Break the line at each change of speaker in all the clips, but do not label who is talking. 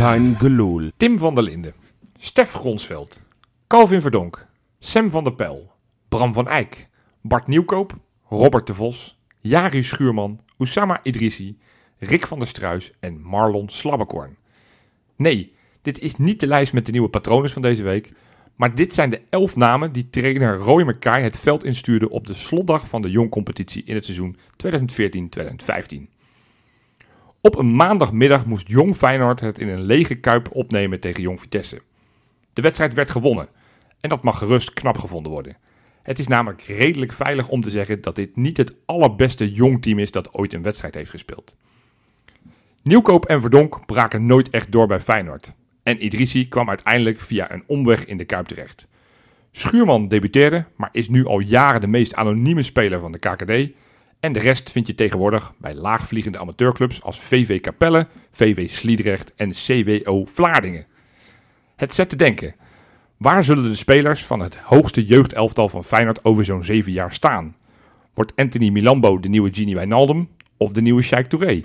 Martijn Geloel.
Tim van der Linden, Stef Gronsveld, Calvin Verdonk, Sam van der Pel, Bram van Eyck, Bart Nieuwkoop, Robert de Vos, Jari Schuurman, Oussama Idrissi, Rick van der Struis en Marlon Slabbekorn. Nee, dit is niet de lijst met de nieuwe patronen van deze week, maar dit zijn de elf namen die trainer Roy Mekaay het veld instuurde op de slotdag van de jongcompetitie in het seizoen 2014-2015. Op een maandagmiddag moest Jong Feyenoord het in een lege kuip opnemen tegen Jong Vitesse. De wedstrijd werd gewonnen en dat mag gerust knap gevonden worden. Het is namelijk redelijk veilig om te zeggen dat dit niet het allerbeste jongteam is dat ooit een wedstrijd heeft gespeeld. Nieuwkoop en Verdonk braken nooit echt door bij Feyenoord. En Idrissi kwam uiteindelijk via een omweg in de Kuip terecht. Schuurman debuteerde, maar is nu al jaren de meest anonieme speler van de KKD. En de rest vind je tegenwoordig bij laagvliegende amateurclubs als VV Capelle, VV Sliedrecht en CWO Vlaardingen. Het zet te denken. Waar zullen de spelers van het hoogste jeugdelftal van Feyenoord over zo'n zeven jaar staan? Wordt Anthony Milambo de nieuwe Genie Wijnaldum of de nieuwe Sheikh Touré?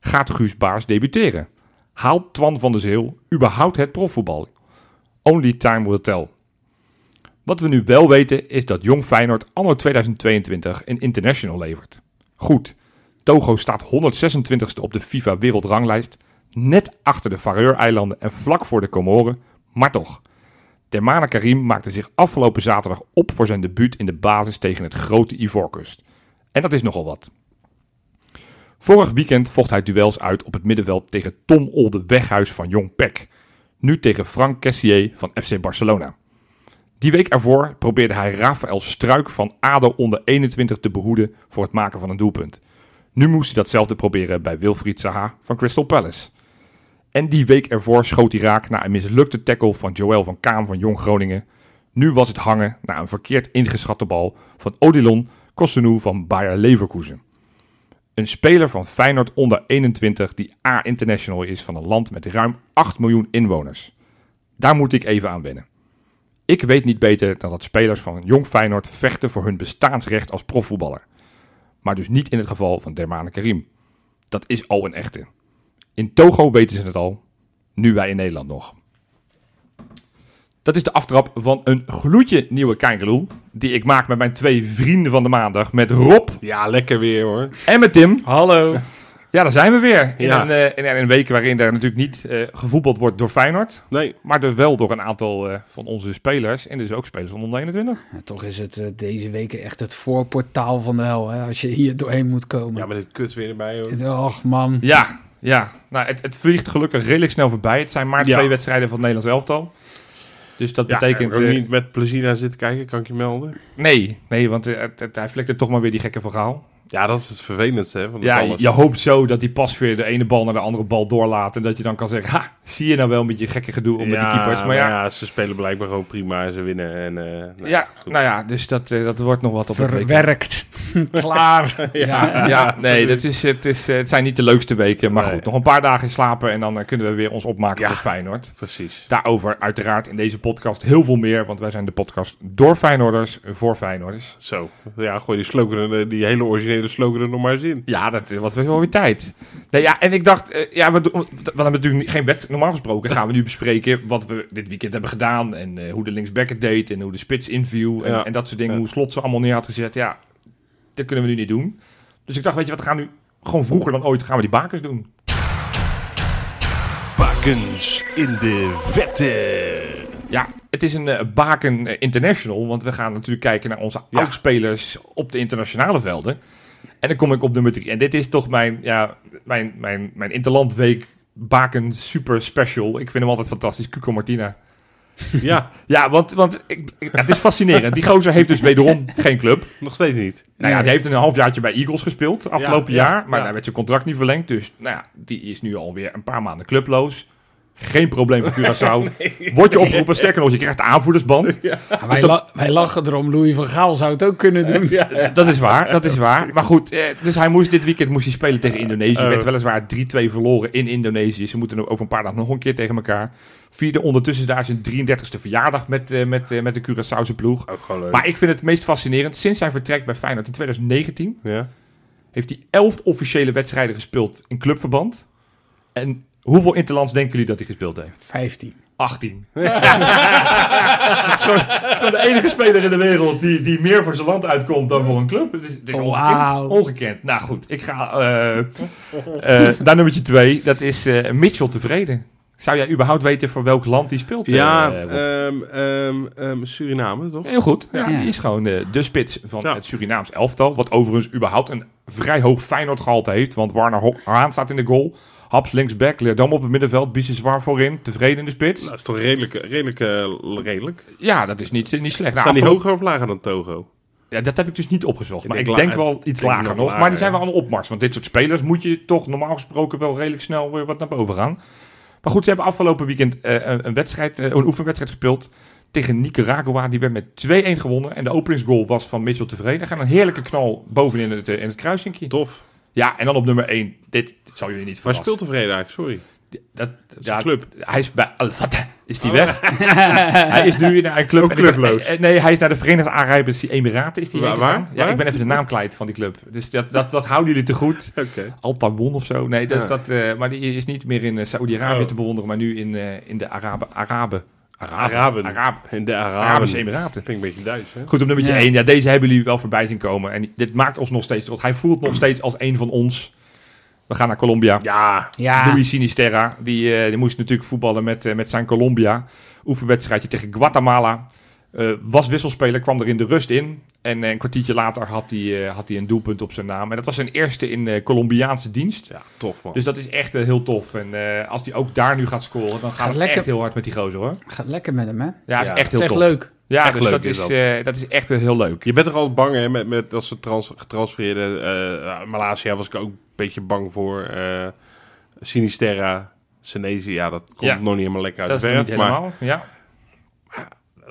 Gaat Guus Baars debuteren? Haalt Twan van der Zeel überhaupt het profvoetbal? Only time will tell. Wat we nu wel weten is dat Jong Feyenoord anno 2022 een international levert. Goed, Togo staat 126ste op de FIFA wereldranglijst, net achter de Vareur-eilanden en vlak voor de Comoren, maar toch. Dermane Karim maakte zich afgelopen zaterdag op voor zijn debuut in de basis tegen het grote Ivoorkust. En dat is nogal wat. Vorig weekend vocht hij duels uit op het middenveld tegen Tom Olde Weghuis van Jong Pek. Nu tegen Frank Cassier van FC Barcelona. Die week ervoor probeerde hij Rafael Struik van ADO onder 21 te behoeden voor het maken van een doelpunt. Nu moest hij datzelfde proberen bij Wilfried Zaha van Crystal Palace. En die week ervoor schoot hij raak na een mislukte tackle van Joël van Kaam van Jong Groningen. Nu was het hangen na een verkeerd ingeschatte bal van Odilon Costenou van Bayer Leverkusen. Een speler van Feyenoord onder 21 die A-international is van een land met ruim 8 miljoen inwoners. Daar moet ik even aan wennen. Ik weet niet beter dan dat spelers van jong Feyenoord vechten voor hun bestaansrecht als profvoetballer. Maar dus niet in het geval van Dermane Karim. Dat is al een echte. In Togo weten ze het al, nu wij in Nederland nog. Dat is de aftrap van een gloedje nieuwe Kijkeloel. Die ik maak met mijn twee vrienden van de maandag. Met Rob
Ja, lekker weer hoor.
en met Tim.
Hallo.
Ja, daar zijn we weer. In,
Ja.
een, eh, in een week waarin er natuurlijk niet eh, gevoetbald wordt door Feyenoord.
Nee,
Maar dus wel door een aantal eh, van onze spelers. En dus ook spelers van onder 21.
Ja, toch is het eh, deze week echt het voorportaal van de hel, hè, als je hier doorheen moet komen.
ja, met dit kut weer erbij hoor.
Och man.
Ja, ja. Nou, het, het vliegt gelukkig redelijk snel voorbij. Het zijn maar
Ja.
twee wedstrijden van het Nederlands elftal. Dus dat
Ja,
betekent...
ik heb
eh,
ook niet met plezier naar zitten kijken, kan ik je melden.
nee, nee, want eh, het- het- hij flikkert toch maar weer die gekke verhaal.
Ja, dat is het vervelendste hè, van
Ja,
ja, alles.
je hoopt zo dat die pas weer de ene bal naar de andere bal doorlaat. En dat je dan kan zeggen, ha, zie je nou wel met je gekke gedoe om met die keepers. Maar ja, ja,
ze spelen blijkbaar gewoon prima en ze winnen. En, eh, nou, goed.
nou ja, dus dat, eh, dat wordt nog wat op het weekend.
Verwerkt. Klaar. ja.
Ja, ja, nee, dat is, het, is, eh, het zijn niet de leukste weken. Maar
Nee.
goed, nog een paar dagen slapen en dan eh, kunnen we weer ons opmaken
Ja.
voor Feyenoord.
Precies.
Daarover uiteraard in deze podcast heel veel meer. Want wij zijn de podcast door Feyenoorders, voor Feyenoorders.
Zo. Ja, gooi die slogan, eh, die hele originele slogan er nog maar eens in.
Ja, dat was wel weer tijd. Nee, ja, en ik dacht, eh, ja, we, doen- we hebben natuurlijk niet- geen wedstrijd. Normaal gesproken gaan we nu bespreken wat we dit weekend hebben gedaan. En eh, hoe de linksback het deed. En hoe de spits inviel. En,
Ja.
en dat soort dingen.
Ja.
Hoe slot ze allemaal neer had gezet. Ja, dat kunnen we nu niet doen. Dus ik dacht, weet je wat, we gaan nu gewoon vroeger dan ooit gaan we die bakers doen.
Bakens in de vette.
Ja, het is een eh, baken eh, international, want we gaan natuurlijk kijken naar onze oudspelers op de internationale velden. En dan kom ik op nummer drie. En dit is toch mijn, ja, mijn, mijn, mijn Interlandweek baken super special. Ik vind hem altijd fantastisch, Cuco Martina.
ja,
Ja, want, want ik, ik- het is fascinerend. Die gozer heeft dus wederom geen club.
nog steeds niet.
Nou ja, die heeft een halfjaartje bij Eagles gespeeld afgelopen
Ja, ja,
jaar. Maar
ja.
daar werd zijn contract niet verlengd. Dus nou ja, die is nu alweer een paar maanden clubloos. Geen probleem voor Curaçao. Word je opgeroepen, sterker nog, je krijgt de aanvoerdersband.
Wij, la- wij lachen erom. Louis van Gaal zou het ook kunnen doen.
Eh, Dat is waar, dat is waar. Maar goed, eh, dus hij moest dit weekend moest hij spelen tegen Indonesië.
Oh.
Werd weliswaar 3-2 verloren in Indonesië. Ze moeten over een paar dagen nog een keer tegen elkaar. Vierde ondertussen daar zijn 33ste verjaardag met, eh, met, eh, met de Curaçaose ploeg.
Ook gewoon leuk.
Maar ik vind het meest fascinerend. Sinds zijn vertrek bij Feyenoord in 2019
Ja.
heeft hij 11 officiële wedstrijden gespeeld in clubverband. En Hoeveel Interlands denken jullie dat hij gespeeld heeft?
15.
18. Het is gewoon, gewoon de enige speler in de wereld die, die meer voor zijn land uitkomt dan voor een club. Het is, het is
Oh, Wauw.
ongekend, ongekend. Nou goed, ik ga eh eh, naar nummertje 2. Dat is eh, Mitchell tevreden. Zou jij überhaupt weten voor welk land hij speelt? eh,
Ja,
Rob?
ehm, ehm, ehm, Suriname, toch?
Heel goed. Ja,
Ja.
Die is gewoon eh, de spits van
Ja.
het Surinaams elftal. Wat overigens überhaupt een vrij hoog Feyenoord gehalte heeft. Want Warner Ho- Haan staat in de goal. Haps linksback, Leerdam op het middenveld. Biseswar voorin. Tevreden in de spits.
Dat Nou, is toch redelijk, redelijk, eh, redelijk.
Ja, dat is niet, niet slecht. Nou,
Staan die
afgelopen-
hoger of lager dan Togo?
Ja, dat heb ik dus niet opgezocht.
Ik
maar
denk
ik
la-
denk wel
ik
iets
denk
lager nog.
nog
maar die
lager,
zijn
ja.
wel aan de opmars. Want dit soort spelers moet je toch normaal gesproken wel redelijk snel weer wat naar boven gaan. Maar goed, ze hebben afgelopen weekend eh, een, een wedstrijd, eh, een oefenwedstrijd gespeeld tegen Nicaragua. Die werd met 2-1 gewonnen. En de openingsgoal was van Mitchell tevreden. Gaan een heerlijke knal bovenin het, eh, in het kruisinkje.
Tof.
Ja, en dan op nummer 1. Dit, dit zal jullie niet
Waar
verrassen.
speelt tevreden eigenlijk? Sorry.
dat,
is
ja,
een club. Oh.
Hij is bij Al Fatah. Is die weg? hij is nu naar een club.
Ook
en ik-
clubloos.
eh, nee, hij is naar de Verenigde Arabische Emiraten. Is die
Waar-
heen gegaan.
waar?
Ja, ik
Waar?
ben even de naam kwijt van die club. Dus dat, dat, dat houden jullie te goed.
Oké.
Al Tawon of zo. Nee, dat,
Ja.
dat, eh, maar die is niet meer in eh, Saoedi-Arabië
Oh.
te bewonderen, maar nu in, eh, in de Araben. Araben. Araben.
Araben.
Araben.
En de Araben.
Arabische Emiraten.
Klinkt een beetje Duits, hè?
Goed, op nummertje
Ja.
1. Ja, deze hebben jullie wel voorbij zien komen. En dit maakt ons nog steeds trots. Hij voelt nog steeds als een van ons. We gaan naar Colombia.
Ja.
Ja.
Louis Sinisterra, die, eh, die moest natuurlijk voetballen met, eh, met zijn Colombia. Oefenwedstrijdje tegen Guatemala. Eh, was wisselspeler, kwam er in de rust in. En eh, een kwartiertje later had hij eh, had hij een doelpunt op zijn naam. En dat was zijn eerste in eh, Colombiaanse dienst.
Ja, tof man.
Dus dat is echt eh, heel tof. En eh, als hij ook daar nu gaat scoren, dan gaat
Gaat
het
lekker.
echt heel hard met die gozer hoor.
Gaat lekker met hem, hè?
Ja,
Ja,
is echt
Dat
heel
is echt
tof.
leuk.
Ja,
Echt
dus
leuk
dat,
is
is,
dat.
eh, dat is echt wel heel leuk.
Je bent toch altijd bang, hè? Met, met als ze trans, getransfereerden. eh, Malaysia was ik ook een beetje bang voor. eh Sinisterra, Senezi. Ja, dat komt
Ja.
nog niet helemaal lekker uit
Dat is
de
nog niet
verf. Maar,
helemaal. Ja.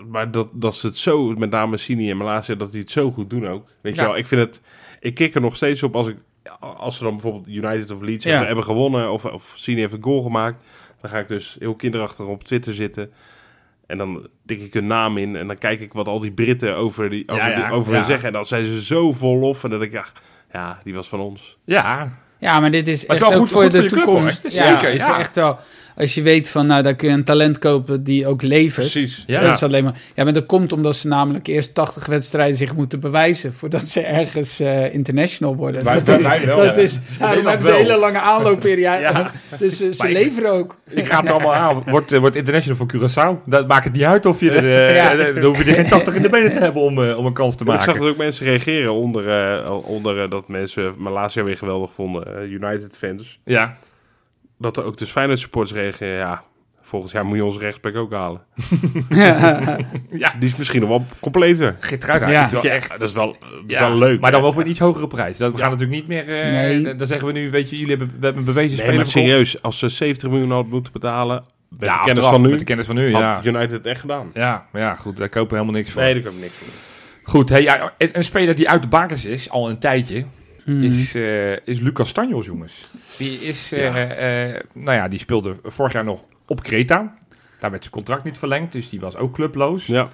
maar dat, dat ze het zo, met name Sini en Malaysia, dat die het zo goed doen ook. Weet
Ja.
je wel, ik vind het... Ik kik er nog steeds op als ik... Als ze dan bijvoorbeeld United of Leeds
Ja.
hebben- hebben gewonnen... of, of Sini heeft een goal gemaakt... dan ga ik dus heel kinderachtig op Twitter zitten... En dan tik ik hun naam in en dan kijk ik wat al die Britten over, die, over,
Ja, ja,
die- over
ja.
hun zeggen. En dan zijn ze zo vol lof. En dan denk ik, ach, ja, die was van ons.
ja,
Ja, maar dit is
Maar het
echt
is wel
ook
goed-
voor
goed
de
voor je club, hoor.
toekomst.
Het is
ja,
zeker,
het is
ja.
echt wel... Als je weet van, nou, daar kun je een talent kopen die ook levert.
Precies.
Ja.
Dat is alleen maar... Ja, maar dat komt omdat ze namelijk eerst 80 wedstrijden zich moeten bewijzen... voordat ze ergens eh, international worden.
Wij-
dat
wij-
is,
wij wel,
dat
ja.
is, daarom
Nederland
hebben ze een
wel.
hele lange aanloopperiode.
Ja.
Dus eh, ze
Maar ik-
leveren ook.
Ik raad ze allemaal aan. Wordt, eh, wordt international voor Curaçao. Dat maakt het niet uit of je er... eh,
Ja.
eh, Dan hoef je er geen 80 in de benen te hebben om, eh, om een kans te
Ik zag
maken.
dat ook mensen reageren onder, eh, onder eh, dat mensen Malaysia weer geweldig vonden. eh, United fans.
Ja.
Dat er ook dus Feyenoord supporters reageren. Ja, volgens jaar moet je onze rechtsback ook halen.
Hmm.
Die is misschien nog wel completer.
Geertruida,
Ja.
dat is wel
Ja,
echt
dat is wel, dat is
ja,
wel leuk.
Maar dan wel voor een iets hogere prijs. Dat, we gaan natuurlijk niet meer... eh,
Nee.
Dan dan zeggen we nu, weet je, jullie hebben, we hebben een bewezen
Nee,
speler
maar
verkocht.
serieus. Als ze 70 miljoen hadden moeten betalen, met de
Ja,
kennis
achteraf,
van nu,
Met de kennis van nu, ja.
had United het echt gedaan.
Ja, maar ja, goed, daar kopen we helemaal niks van.
Nee, daar kan ik niks van.
Goed, hey, ja, een, een speler die uit de bakens is, al een tijdje,
Mhm.
is, eh, is Lucas Tanjos, jongens. Die is, eh, eh, nou ja, die speelde vorig jaar nog op Kreta. Daar werd zijn contract niet verlengd, dus die was ook clubloos.
Ja,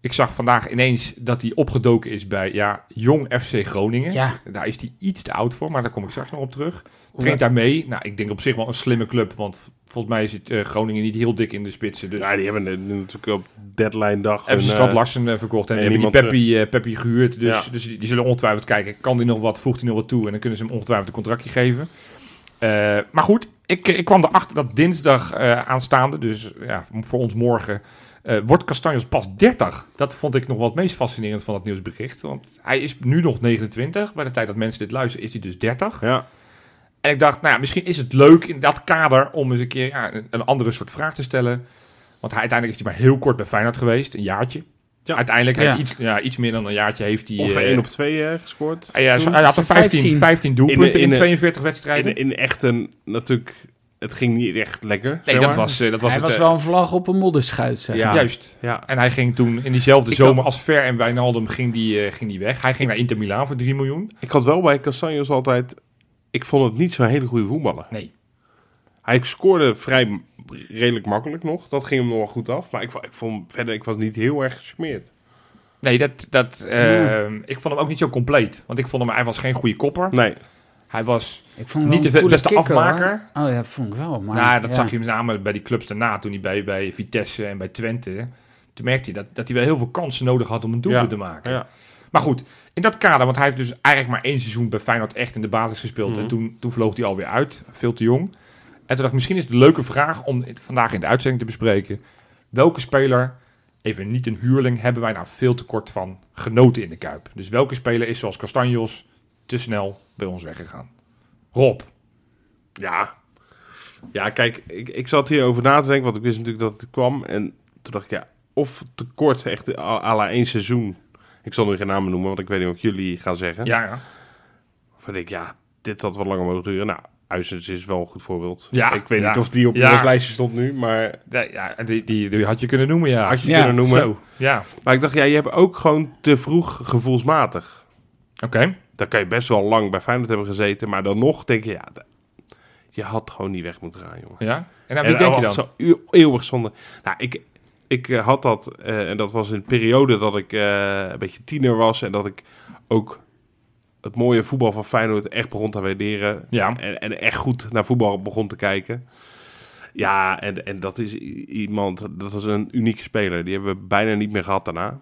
Ik zag vandaag ineens dat hij opgedoken is bij ja, Jong FC Groningen.
Ja.
Daar is hij iets te oud voor, maar daar kom ik straks nog op terug. Traint daar mee. Nou, ik denk op zich wel een slimme club, want v- volgens mij zit eh, Groningen niet heel dik in de spitsen. Dus
ja die hebben eh, natuurlijk op deadline dag...
hebben ze
een,
Strand
eh,
Larsen eh, verkocht en,
en
hebben die
niemand,
Peppi, eh, Peppi gehuurd. Dus,
Ja.
dus die, die zullen ongetwijfeld kijken, kan die nog wat, voegt hij nog wat toe en dan kunnen ze hem ongetwijfeld een contractje geven. Eh, maar goed, ik, eh, ik kwam erachter dat dinsdag eh, aanstaande, dus ja, voor ons morgen, eh, wordt Castanjes pas 30. Dat vond ik nog wel het meest fascinerend van het nieuwsbericht. Want hij is nu nog 29, bij de tijd dat mensen dit luisteren is hij dus 30.
Ja,
En ik dacht, nou ja, misschien is het leuk in dat kader om eens een keer ja, een, een andere soort vraag te stellen. Want hij, uiteindelijk is hij maar heel kort bij Feyenoord geweest, een jaartje.
Ja.
Uiteindelijk, hij
Ja.
Iets, ja, iets meer dan een jaartje heeft hij...
ongeveer
eh,
1 op 2 gescoord.
hij, eh, zo- hij had er 15,
15.
15, doelpunten in,
In- in-
42 wedstrijden.
In, in echt een, natuurlijk, het ging niet echt lekker. zeg
nee, dat
maar.
was, eh, dat was
Hij
het,
was
eh,
wel een vlag op een modderschuit, zeg
Ja.
maar.
Juist.
Ja,
En hij ging toen in diezelfde
Ik
zomer
had-
als Ver en Wijnaldum ging die, eh, ging die weg. Hij ging naar Inter Milaan voor 3 miljoen.
ik had wel bij Castanjos altijd, ik vond het niet zo'n hele goede voetballer.
Nee.
Hij scoorde vrij m- redelijk makkelijk nog, dat ging hem nog wel goed af. Maar ik, vo- ik vond hem verder, ik was niet heel erg gesmeerd.
ehm, Nee, dat, dat, eh, ik vond hem ook niet zo compleet. Want ik vond hem, hij was geen goede kopper.
Nee,
Hij was,
Ik vond
Niet
hem wel
de
een coole
beste
kicker,
afmaker.
hoor. Oh ja, vond ik wel. Maar,
nou, dat
ja.
zag je met name bij die clubs daarna, toen hij bij, bij Vitesse en bij Twente. Toen merkte hij dat, dat hij wel heel veel kansen nodig had om een doelpunt
Ja,
te maken.
Ja.
Maar goed, in dat kader, want hij heeft dus eigenlijk maar één seizoen bij Feyenoord echt in de basis gespeeld.
Mhm.
En toen, toen vloog hij alweer uit, veel te jong. En toen dacht ik, misschien is het een leuke vraag om het vandaag in de uitzending te bespreken. Welke speler, even niet een huurling, hebben wij nou veel te kort van genoten in de Kuip? Dus welke speler is zoals Castanjos te snel bij ons weggegaan? Rob,
Ja. Ja, kijk, ik, ik zat hierover na te denken, want ik wist natuurlijk dat het kwam. En toen dacht ik, ja, of tekort, echt à à la één seizoen. Ik zal nu geen namen noemen, want ik weet niet wat jullie gaan zeggen.
ja, ja.
Of ik denk, ja, dit had wat langer mogen duren. Nou, Huizens is wel een goed voorbeeld.
Ja,
ik weet
ja.
niet of die op
Ja.
ons lijstje stond nu, maar
Ja, ja, die, die, die had je kunnen noemen, ja.
had je
Ja,
kunnen noemen.
Zo, ja.
Maar ik dacht, ja, je hebt ook gewoon te vroeg gevoelsmatig.
Oké.
Dan kan je best wel lang bij Feyenoord hebben gezeten. Maar dan nog denk je, ja, d- je had gewoon niet weg moeten gaan, jongen.
Ja. En oh, aan wie denk je dan?
Zo eeu- eeuwig zonde. Nou, ik, ik eh, had dat, eh, en dat was een periode dat ik eh, een beetje tiener was. En dat ik ook het mooie voetbal van Feyenoord echt begon te waarderen.
Ja.
En, en echt goed naar voetbal begon te kijken. Ja, en, en dat is i- iemand, dat was een unieke speler. Die hebben we bijna niet meer gehad daarna.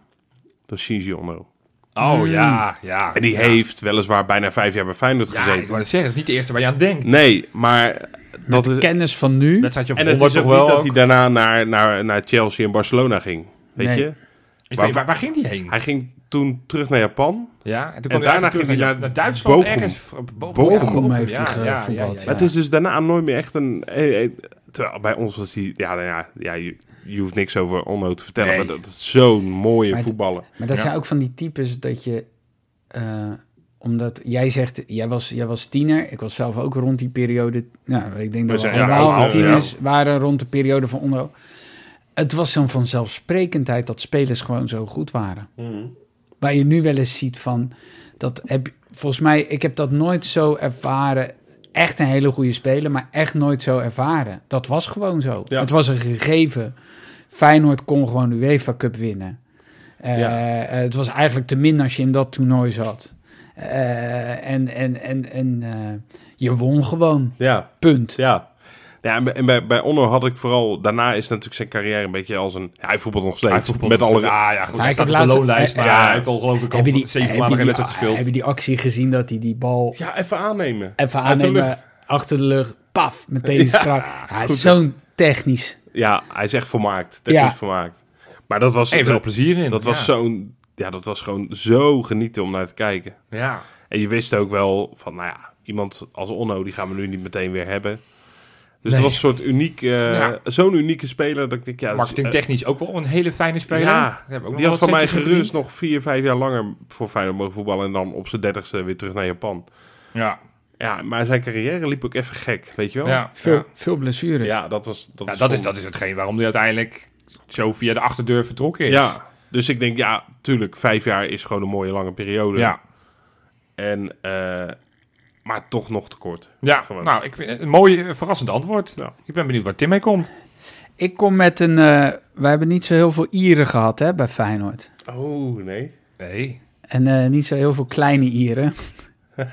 Dat is Shinji Ono.
Oh, ja, ja.
En die heeft weliswaar bijna vijf jaar bij Feyenoord
Ja, ik
gezeten.
wou het zeggen, het is niet de eerste waar je aan denkt.
Nee, maar dat is.
Kennis van nu.
Wedstrijdje van
En het
100
is
toch
ook
wel.
niet dat
ook?
hij daarna naar, naar, naar Chelsea en Barcelona ging. Weet
Nee.
je?
Ik weet, waar, waar ging die heen?
Hij ging toen terug naar Japan.
Ja, en toen
En
kwam hij
daarna
later terug
ging hij
naar,
naar
naar Duitsland
Bochum.
ergens. v- Bochum,
Bochum
ja,
heeft hij gevoetbald, ja.
Maar het is dus daarna nooit meer echt een. eh, eh, terwijl bij ons was hij. Ja, nou ja, ja je, je hoeft niks over Onno te vertellen.
Nee.
Maar dat is zo'n mooie
Maar het-
voetballer.
Maar dat
Ja.
zijn ook van die types dat je... eh, omdat jij zegt, jij was, jij was tiener. Ik was zelf ook rond die periode. Nou, ik denk
We
dat we
zijn- ja,
allemaal
allemaal,
tieners waren rond de periode van Onno. Het was zo'n vanzelfsprekendheid dat spelers gewoon zo goed waren. Waar je nu wel eens ziet van... Dat heb, volgens mij, ik heb dat nooit zo ervaren. Echt een hele goede speler, maar echt nooit zo ervaren. Dat was gewoon zo.
Ja.
Het was een gegeven. Feyenoord kon gewoon de UEFA Cup winnen. Eh,
Ja.
eh, het was eigenlijk te min als je in dat toernooi zat. Eh, en en, en, en eh, je won gewoon.
Ja.
Punt.
Ja. Ja, en bij- en bij, bij Onno had ik vooral... Daarna is natuurlijk zijn carrière een beetje als een... ja, hij voetbalt nog steeds.
Hij voetbalt
met
nog
alle...
steeds.
Ja, ja,
Goed,
Ja,
hij
ik
staat op
heb
de
laatst-
loonlijst,
eh,
maar
ja.
hij heeft al geloof ik al
Hebben die,
zeven
heb,
maanden
je
geen
die,
wedstrijd gespeeld.
heb je die actie gezien dat hij die bal
ja, even aannemen.
even
Uit de
aannemen,
lucht.
achter de lucht, paf, meteen ja, Hij
goed.
is zo'n technisch.
Ja, hij is echt vermaakt. Technisch
Ja.
vermaakt. Maar dat was...
Even er
dat,
plezier in.
dat was
ja.
zo'n... Ja, dat was gewoon zo genieten om naar te kijken.
Ja.
En je wist ook wel van, nou ja... Iemand als Onno, die gaan we nu niet meteen weer hebben. Dus
Nee.
het was een soort uniek... eh,
Ja,
Zo'n unieke speler dat ik denk... Ja, dat is, eh,
Marketingtechnisch ook wel een hele fijne speler.
Ja,
Daar heb ik ook nog
die
wel
had van
wat
mij
centjes
gerust nog vier, vijf jaar langer voor Feyenoord mogen voetballen. En dan op zijn dertigste weer terug naar Japan.
verdiend. Ja,
Ja, maar zijn carrière liep ook even gek, weet je wel?
ja,
Veel,
ja.
veel blessures.
Ja, dat was... Dat,
Ja, dat, is,
zonde.
dat is hetgeen waarom hij uiteindelijk zo via de achterdeur vertrokken is.
Ja, dus ik denk, ja, tuurlijk, vijf jaar is gewoon een mooie lange periode.
ja.
En, eh, maar toch nog te kort.
ja.
Gewoon.
nou, ik vind het een mooi, eh, verrassend antwoord.
Ja.
Ik ben benieuwd waar Tim mee komt.
Ik kom met een... eh wij hebben niet zo heel veel Ieren gehad hè, bij Feyenoord.
Oh, nee.
Nee.
En eh, niet zo heel veel kleine Ieren.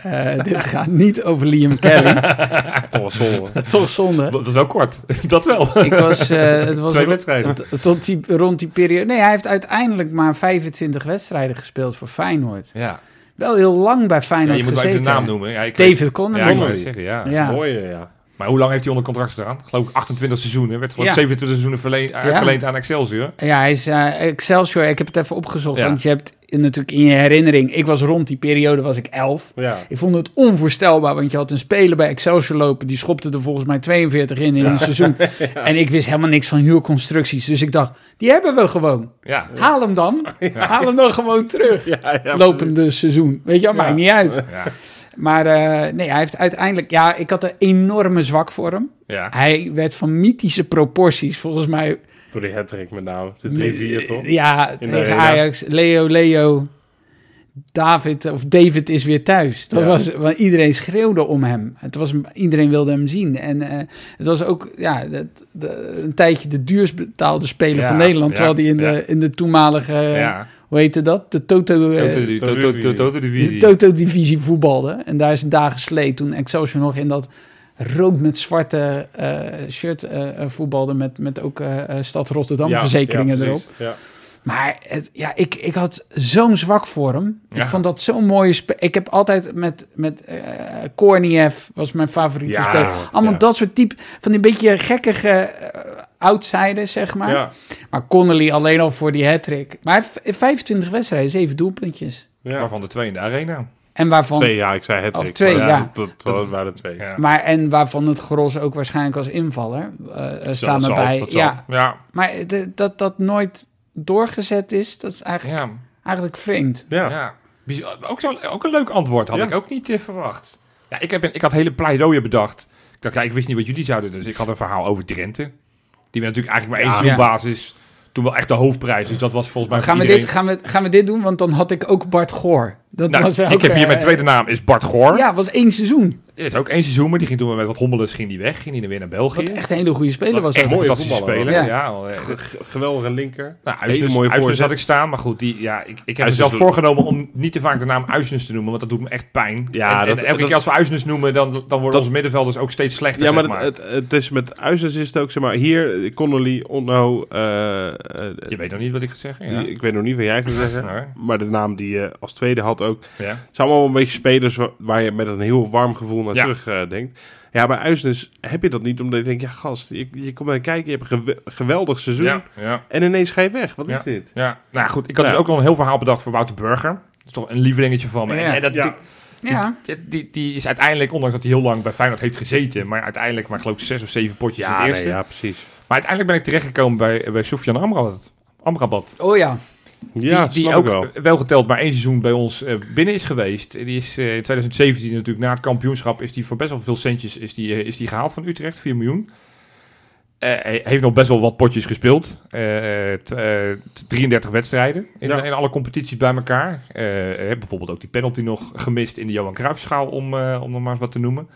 Eh, dit gaat niet over Liam Kelly.
Toch wel zonde.
Toch zonde.
Dat is wel kort. dat wel.
Ik was, eh, het was
Twee
ro-
wedstrijden.
t- tot die, rond die periode. Nee, hij heeft uiteindelijk maar 25 wedstrijden gespeeld voor Feyenoord.
Ja.
Wel heel lang bij
Ja,
Feyenoord
je moet wel
gezeten.
even de naam noemen. Ja, ik weet-
David
Ja,
Connery.
ik wou het
Connery.
zeggen, ja.
Ja.
Mooie, ja.
Maar hoe lang heeft hij onder contract gedaan? Geloof ik 28 seizoenen. Werd voor
Ja.
27 seizoenen verleen, uitgeleend aan Excelsior.
Ja, hij is eh, Excelsior. Ik heb het even opgezocht.
Ja.
Want je hebt in- natuurlijk in je herinnering... Ik was rond die periode, was ik elf.
Ja.
Ik vond het onvoorstelbaar, want je had een speler bij Excelsior lopen... die schopte er volgens mij 42 in in een seizoen. En ik wist helemaal niks van huurconstructies. Dus ik dacht, die hebben we gewoon.
Ja.
Haal hem dan. Haal hem dan gewoon terug.
Ja, ja.
Lopende seizoen. Weet je, dat maakt niet uit.
Ja.
Maar eh, nee, hij heeft uiteindelijk... Ja, ik had een enorme zwak voor hem.
ja.
Hij werd van mythische proporties, volgens mij...
Door die hat met name. De 3-4, toch?
Ja,
de
tegen
arena.
Ajax. Leo, Leo. David, of David is weer thuis. Dat
Ja.
was, want iedereen schreeuwde om hem. Het was, iedereen wilde hem zien. En eh, het was ook ja, dat- de- een tijdje de duurst betaalde speler
Ja,
van Nederland.
ja,
terwijl hij in,
ja.
de, in de toenmalige eh,
ja.
hoe heette dat? De Toto... eh,
Toto- Toto- Toto- Toto
de
Divisie.
Toto-divisie voetbalde. En daar is een dag gesleed toen Excelsior nog in dat rood met zwarte eh, shirt eh, eh, voetbalde. Met, met ook eh, eh, Stad Rotterdam
Ja,
verzekeringen
ja,
erop.
precies. Ja.
Maar het, ja, ik, ik had zo'n zwak voor hem.
Ja.
Ik vond dat zo'n mooie... spe- ik heb altijd met, met eh Korniev, was mijn favoriete
Ja,
speler. Allemaal
ja.
dat soort type... Van die beetje gekkige eh, outsiders, zeg maar.
Ja,
Maar Connolly alleen al voor die hat-trick. Maar hij heeft in 25 wedstrijden, 7 doelpuntjes.
ja.
Waarvan de twee in de arena.
En waarvan...
Twee, ja, ik zei het.
Of twee, ja.
Dat, dat, dat waren twee.
Ja.
Maar en waarvan het gros ook waarschijnlijk als invaller eh eh, staan
zal,
erbij.
dat zal.
Ja,
Ja,
maar de- dat dat nooit doorgezet is, dat is eigenlijk,
ja,
eigenlijk vreemd.
Ja.
ja. Bijz- Ook, zo, ook een leuk antwoord had
Ja.
ik ook niet eh, verwacht. Ja, ik, heb een, ik had hele pleidooien bedacht. Ik dacht, ja, ik wist niet wat jullie zouden doen. Dus ik had een verhaal over Drenthe. Die werd natuurlijk eigenlijk maar één
Ja.
seizoenbasis. Toen wel echt de hoofdprijs. Dus dat was volgens mij
Gaan
voor
we,
iedereen...
dit, gaan, we, gaan we dit doen? Want dan had ik ook Bart Goor. Dat
Nou,
was ook,
ik heb hier
eh,
mijn tweede naam, is Bart Goor.
Ja, was één seizoen.
Er is ook één seizoen, maar die ging toen met wat hommeles ging die weg. Ging die dan weer naar België.
Wat echt een hele goede speler
Wat
was.
echt een
dat.
mooi. mooie
fantastische
voetballer,
speler.
hoor.
Ja.
Ja.
wel, eh,
Ge- ge- Geweldige linker.
nou,
Hele
Uisnes-
mooie
Uisnes
voorzet.
had ik staan, maar goed, die, ja, ik, ik heb
Uisnes
mezelf
doet-
voorgenomen om niet te vaak de naam Uisnes te noemen, want dat doet me echt pijn.
Ja,
en, en
dat-
elke
dat-
keer als we Uisnes noemen, dan, dan worden onze middenvelders ook steeds slechter.
Ja, maar,
zeg maar.
Het, het, het is met Uizers is het ook, zeg maar, hier eh, Connolly, Onno, eh, eh,
Je weet nog niet wat ik ga zeggen. Ja.
die- ik weet nog niet wat jij gaat zeggen,
Ja.
maar de naam die je als tweede had ook.
Ja.
Het zijn allemaal wel een beetje spelers wa- waar je met een heel warm gevoel naar
Ja.
terug eh, denkt. Ja, bij Uizers heb je dat niet, omdat je denkt, ja gast, je, je komt naar kijken, je hebt een gewe- geweldig seizoen
Ja. Ja.
en ineens ga je weg. Wat is dit?
Ja. Nou goed, ik had
Ja.
dus ook nog een heel verhaal bedacht voor Wouter Burger. Dat is toch een lievelingetje van me.
Ja.
En, en dat,
Ja.
Ja.
die, die, die is uiteindelijk, ondanks dat hij heel lang bij Feyenoord heeft gezeten, maar uiteindelijk maar geloof ik zes of zeven potjes in het
nee,
eerste.
ja, precies.
Maar uiteindelijk ben ik terechtgekomen bij, bij Sofian Amrabat. Amrabat.
Oh ja,
Ja,
die, die
snap
ook
ik wel.
eh, geteld maar één seizoen bij ons eh, binnen is geweest. Die is eh, in 2017 natuurlijk na het kampioenschap is die voor best wel veel centjes is die, eh, is die gehaald van Utrecht, 4 miljoen. Eh, hij heeft nog best wel wat potjes gespeeld. Eh, t- eh, t- 33 wedstrijden in,
Ja.
in alle competities bij elkaar. Eh, heeft bijvoorbeeld ook die penalty nog gemist in de Johan Cruijffschaal, om, eh, om nog maar eens wat te noemen.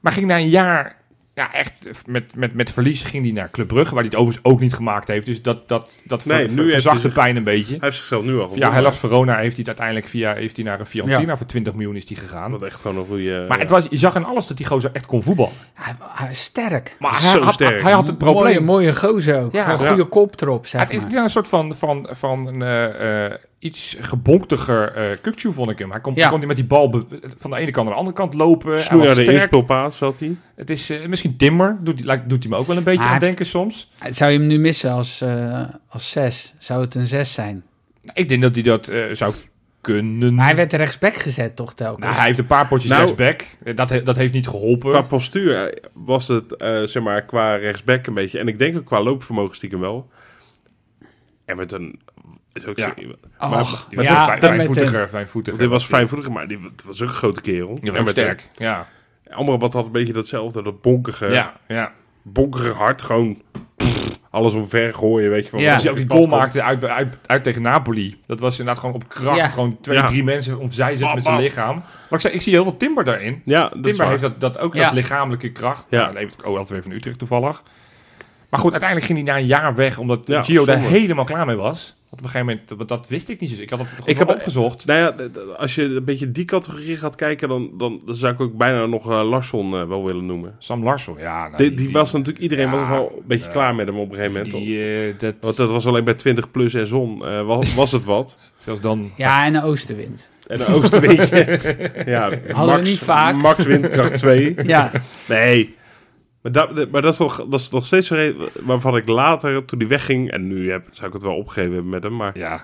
Maar ging na een jaar, ja, echt met, met, met verlies, ging hij naar Club Brugge, waar hij het overigens ook niet gemaakt heeft. Dus dat, dat, dat ver-
Nee, nu
ver-
heeft
verzacht
hij
de pijn een beetje.
Hij heeft zichzelf nu al
Ja,
gewonnen.
helaas Verona heeft hij het uiteindelijk via, heeft hij naar een Fiorentina voor 20 miljoen is die gegaan.
Dat eh, echt gewoon een goede...
maar het was, je zag in alles dat die gozer echt kon voetballen.
hij, hij is sterk.
Maar
Zo
hij, had,
sterk.
hij had het probleem.
Mooie, mooie gozer ook.
Ja.
Een goede kop erop, zeg
het
maar.
is ja, een soort van, van, van een, eh, eh, iets gebonktiger eh Kukçu vond ik hem. Hij kon,
Ja.
hij kon met die bal be- van de ene kant naar de andere kant lopen. eh, Hij
Snoei
was
aan de
sterk.
inspelpaas had hij.
Het is eh, misschien Timmer, doet, hij- lijkt- doet hij me ook wel een beetje
Hij
aan
heeft-
denken soms.
Zou je hem nu missen als, eh, als zes? Zou het een zes zijn?
Nou, ik denk dat hij dat eh, zou kunnen.
Maar hij werd rechtsback gezet toch telkens?
Mm. Nou, hij heeft een paar potjes
Nou-
rechtsback. Eh, Dat, he- dat heeft niet geholpen.
Qua postuur eh, was het, eh, zeg maar, qua rechtsback een beetje. En ik denk ook qua loopvermogen stiekem wel. Everton is ook...
Ja.
geen-
Och,
Die was
ja,
ook fijn-
dan met
fijnvoetiger, fijnvoetiger.
dit was fijnvoetig, maar die was ook een grote kerel.
Je
Everton.
bent sterk. Ja.
Amrabat had een beetje datzelfde, dat bonkige,
ja, ja.
bonkige hart. Gewoon pff, alles omver gooien, weet je wel.
Ja.
Als hij ook die goal maakte uit, uit, uit tegen Napoli. Dat was inderdaad gewoon op kracht.
Ja.
Gewoon twee,
Ja.
drie mensen opzij zetten
Bam,
met zijn
bam.
lichaam. Maar ik, zei, ik zie heel veel Timber daarin.
Ja, dat is
Timber
waar.
heeft dat, dat ook,
Ja.
dat lichamelijke kracht. Nou,
Ja.
Ja. dat heeft ook altijd weer van Utrecht toevallig. Maar goed, uiteindelijk ging hij na een jaar weg. Omdat
Ja,
Gio daar
zonde.
helemaal klaar mee was. Want op een gegeven moment, want dat wist ik niet. Dus ik had het gewoon
Ik
ik
heb-
opgezocht.
Nou ja, d- d- als je een beetje die categorie gaat kijken, dan, dan zou ik ook bijna nog eh, Larsson eh, wel willen noemen.
Sam Larsson, ja. nou,
Die, die was natuurlijk, iedereen
ja,
was wel een beetje klaar met hem op een gegeven moment.
Die, eh, dat,
Want dat was alleen bij 20 plus en zon eh, was, was het wat.
zelfs dan...
Ja, en een oostenwind.
En de oostenwindje. ja,
Hadden we niet vaak.
Max windkracht 2.
Ja,
Nee. Maar dat, maar dat, is toch, dat is toch steeds een reden waarvan ik later, toen hij wegging... En nu heb, zou ik het wel opgegeven hebben met hem. Maar
Ja,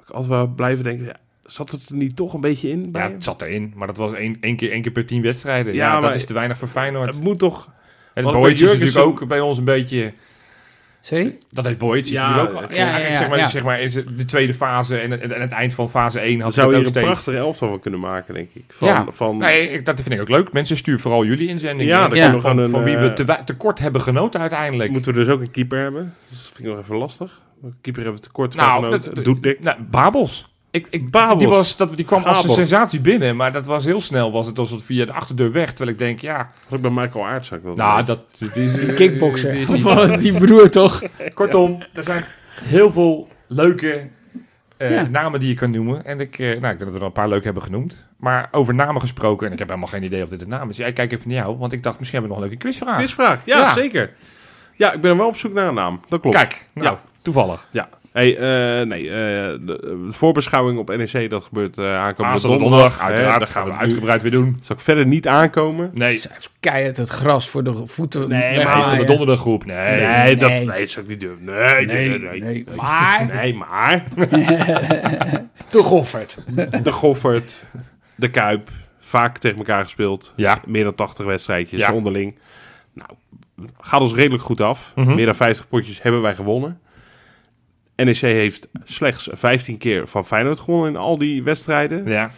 ik altijd wel blijven denken... Ja, zat het er niet toch een beetje in bij
Ja,
hem?
het zat erin, maar dat was één, één, keer, één keer per tien wedstrijden.
Ja,
Ja, dat
maar-
is te weinig voor Feyenoord.
Het moet toch...
En
want
het
bij
Boytje is
Jurgensen-
natuurlijk ook bij ons een beetje...
sorry?
Dat heeft Boytje
Ja,
natuurlijk ook al.
ja, ja,
eigenlijk,
ja,
zeg maar,
ja.
zeg maar is het de tweede fase en, en, en het eind van fase 1
Dan
had
zou
het
je
ook
er een
steeds...
prachtige elftal van kunnen maken, denk ik. Van,
Ja.
van,
Nee, ik, dat vind ik ook leuk. Mensen, stuur vooral jullie inzendingen.
Ja,
in
dan
Ja.
kunnen we
Van,
gewoon een...
van wie
eh,
we te, wa- tekort hebben genoten uiteindelijk.
Moeten we dus ook een keeper hebben? Dat vind ik nog even lastig. Welke keeper hebben we tekort van
nou,
genoten? Dudek.
nou, Babels. Ik, ik,
eh, Babels.
Die, was, dat, die kwam als een
Babels.
sensatie binnen, maar dat was heel snel. Was het alsof het via de achterdeur weg. Terwijl ik denk, ja...
Ook bij Michael Aartsak. dat
Nou, dat, dat is...
Die kickboxer.
die is niet-
Van die broer toch?
Kortom, er zijn heel veel leuke Eh,
Ja.
Namen die je kan noemen. En ik, eh, nou, ik denk dat we er al een paar leuk hebben genoemd. Maar over namen gesproken, en ik heb helemaal geen idee of dit een naam is. Jij kijkt even naar jou, want ik dacht misschien hebben we nog een leuke quizvraag.
Quizvraag, ja,
Ah. Ja.
zeker. Ja, ik ben wel op zoek naar een naam. Dat klopt.
Kijk, nou, toevallig.
Ja. Hey, eh, nee, eh, de, de voorbeschouwing op NEC, dat gebeurt eh aankomende
Aanstaande
donderdag.
donderdag,
hè.
uiteraard,
Daar
gaan we
het nu-
uitgebreid weer doen.
Zal ik verder niet aankomen?
Nee,
Zij heeft keihard het gras voor de voeten
Nee, maar
maar van de
weggewaaid.
donderdaggroep. Nee.
Nee.
zou ik niet doen. Nee,
Nee, nee. Maar-
Nee, maar.
Te gofferd.
De Goffert, de Kuip, vaak tegen elkaar gespeeld.
Ja.
Meer dan 80 wedstrijdjes
Ja.
onderling. Nou, gaat ons redelijk goed af.
Mhm.
Meer dan 50 potjes hebben wij gewonnen. NEC heeft slechts 15 keer van Feyenoord gewonnen in al die wedstrijden.
Ja.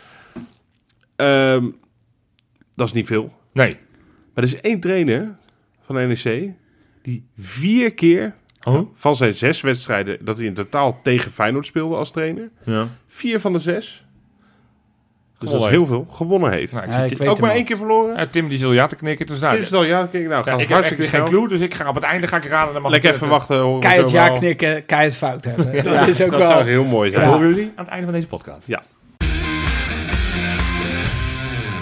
Ehm, dat is niet veel.
Nee.
Maar er is één trainer van NEC die vier keer
Oh?
van zijn zes wedstrijden... dat hij in totaal tegen Feyenoord speelde als trainer...
Ja.
vier van de zes... Dus dat is
Gewonnen
heel veel. Gewonnen heeft.
Nou, ik
Ja,
zie
ik
Tim-
weet
Ook
hem
maar
al.
één keer verloren.
Ja, Tim die zul ja te knikken. Dus nou,
Tim is al ja, kijk, nou,
ja,
gaat
ik heb echt
hartstikke
geen
snel.
clue, dus ik ga op het einde ga ik raden. Dan mag
Lekker
ik
even
het-
wachten. horen we
Keihard
zo
ja
wel.
knikken, keihard fout hebben. Dat is ook
dat
wel...
zou heel mooi zijn.
Ja.
Horen jullie?
Aan het einde van deze podcast.
Ja.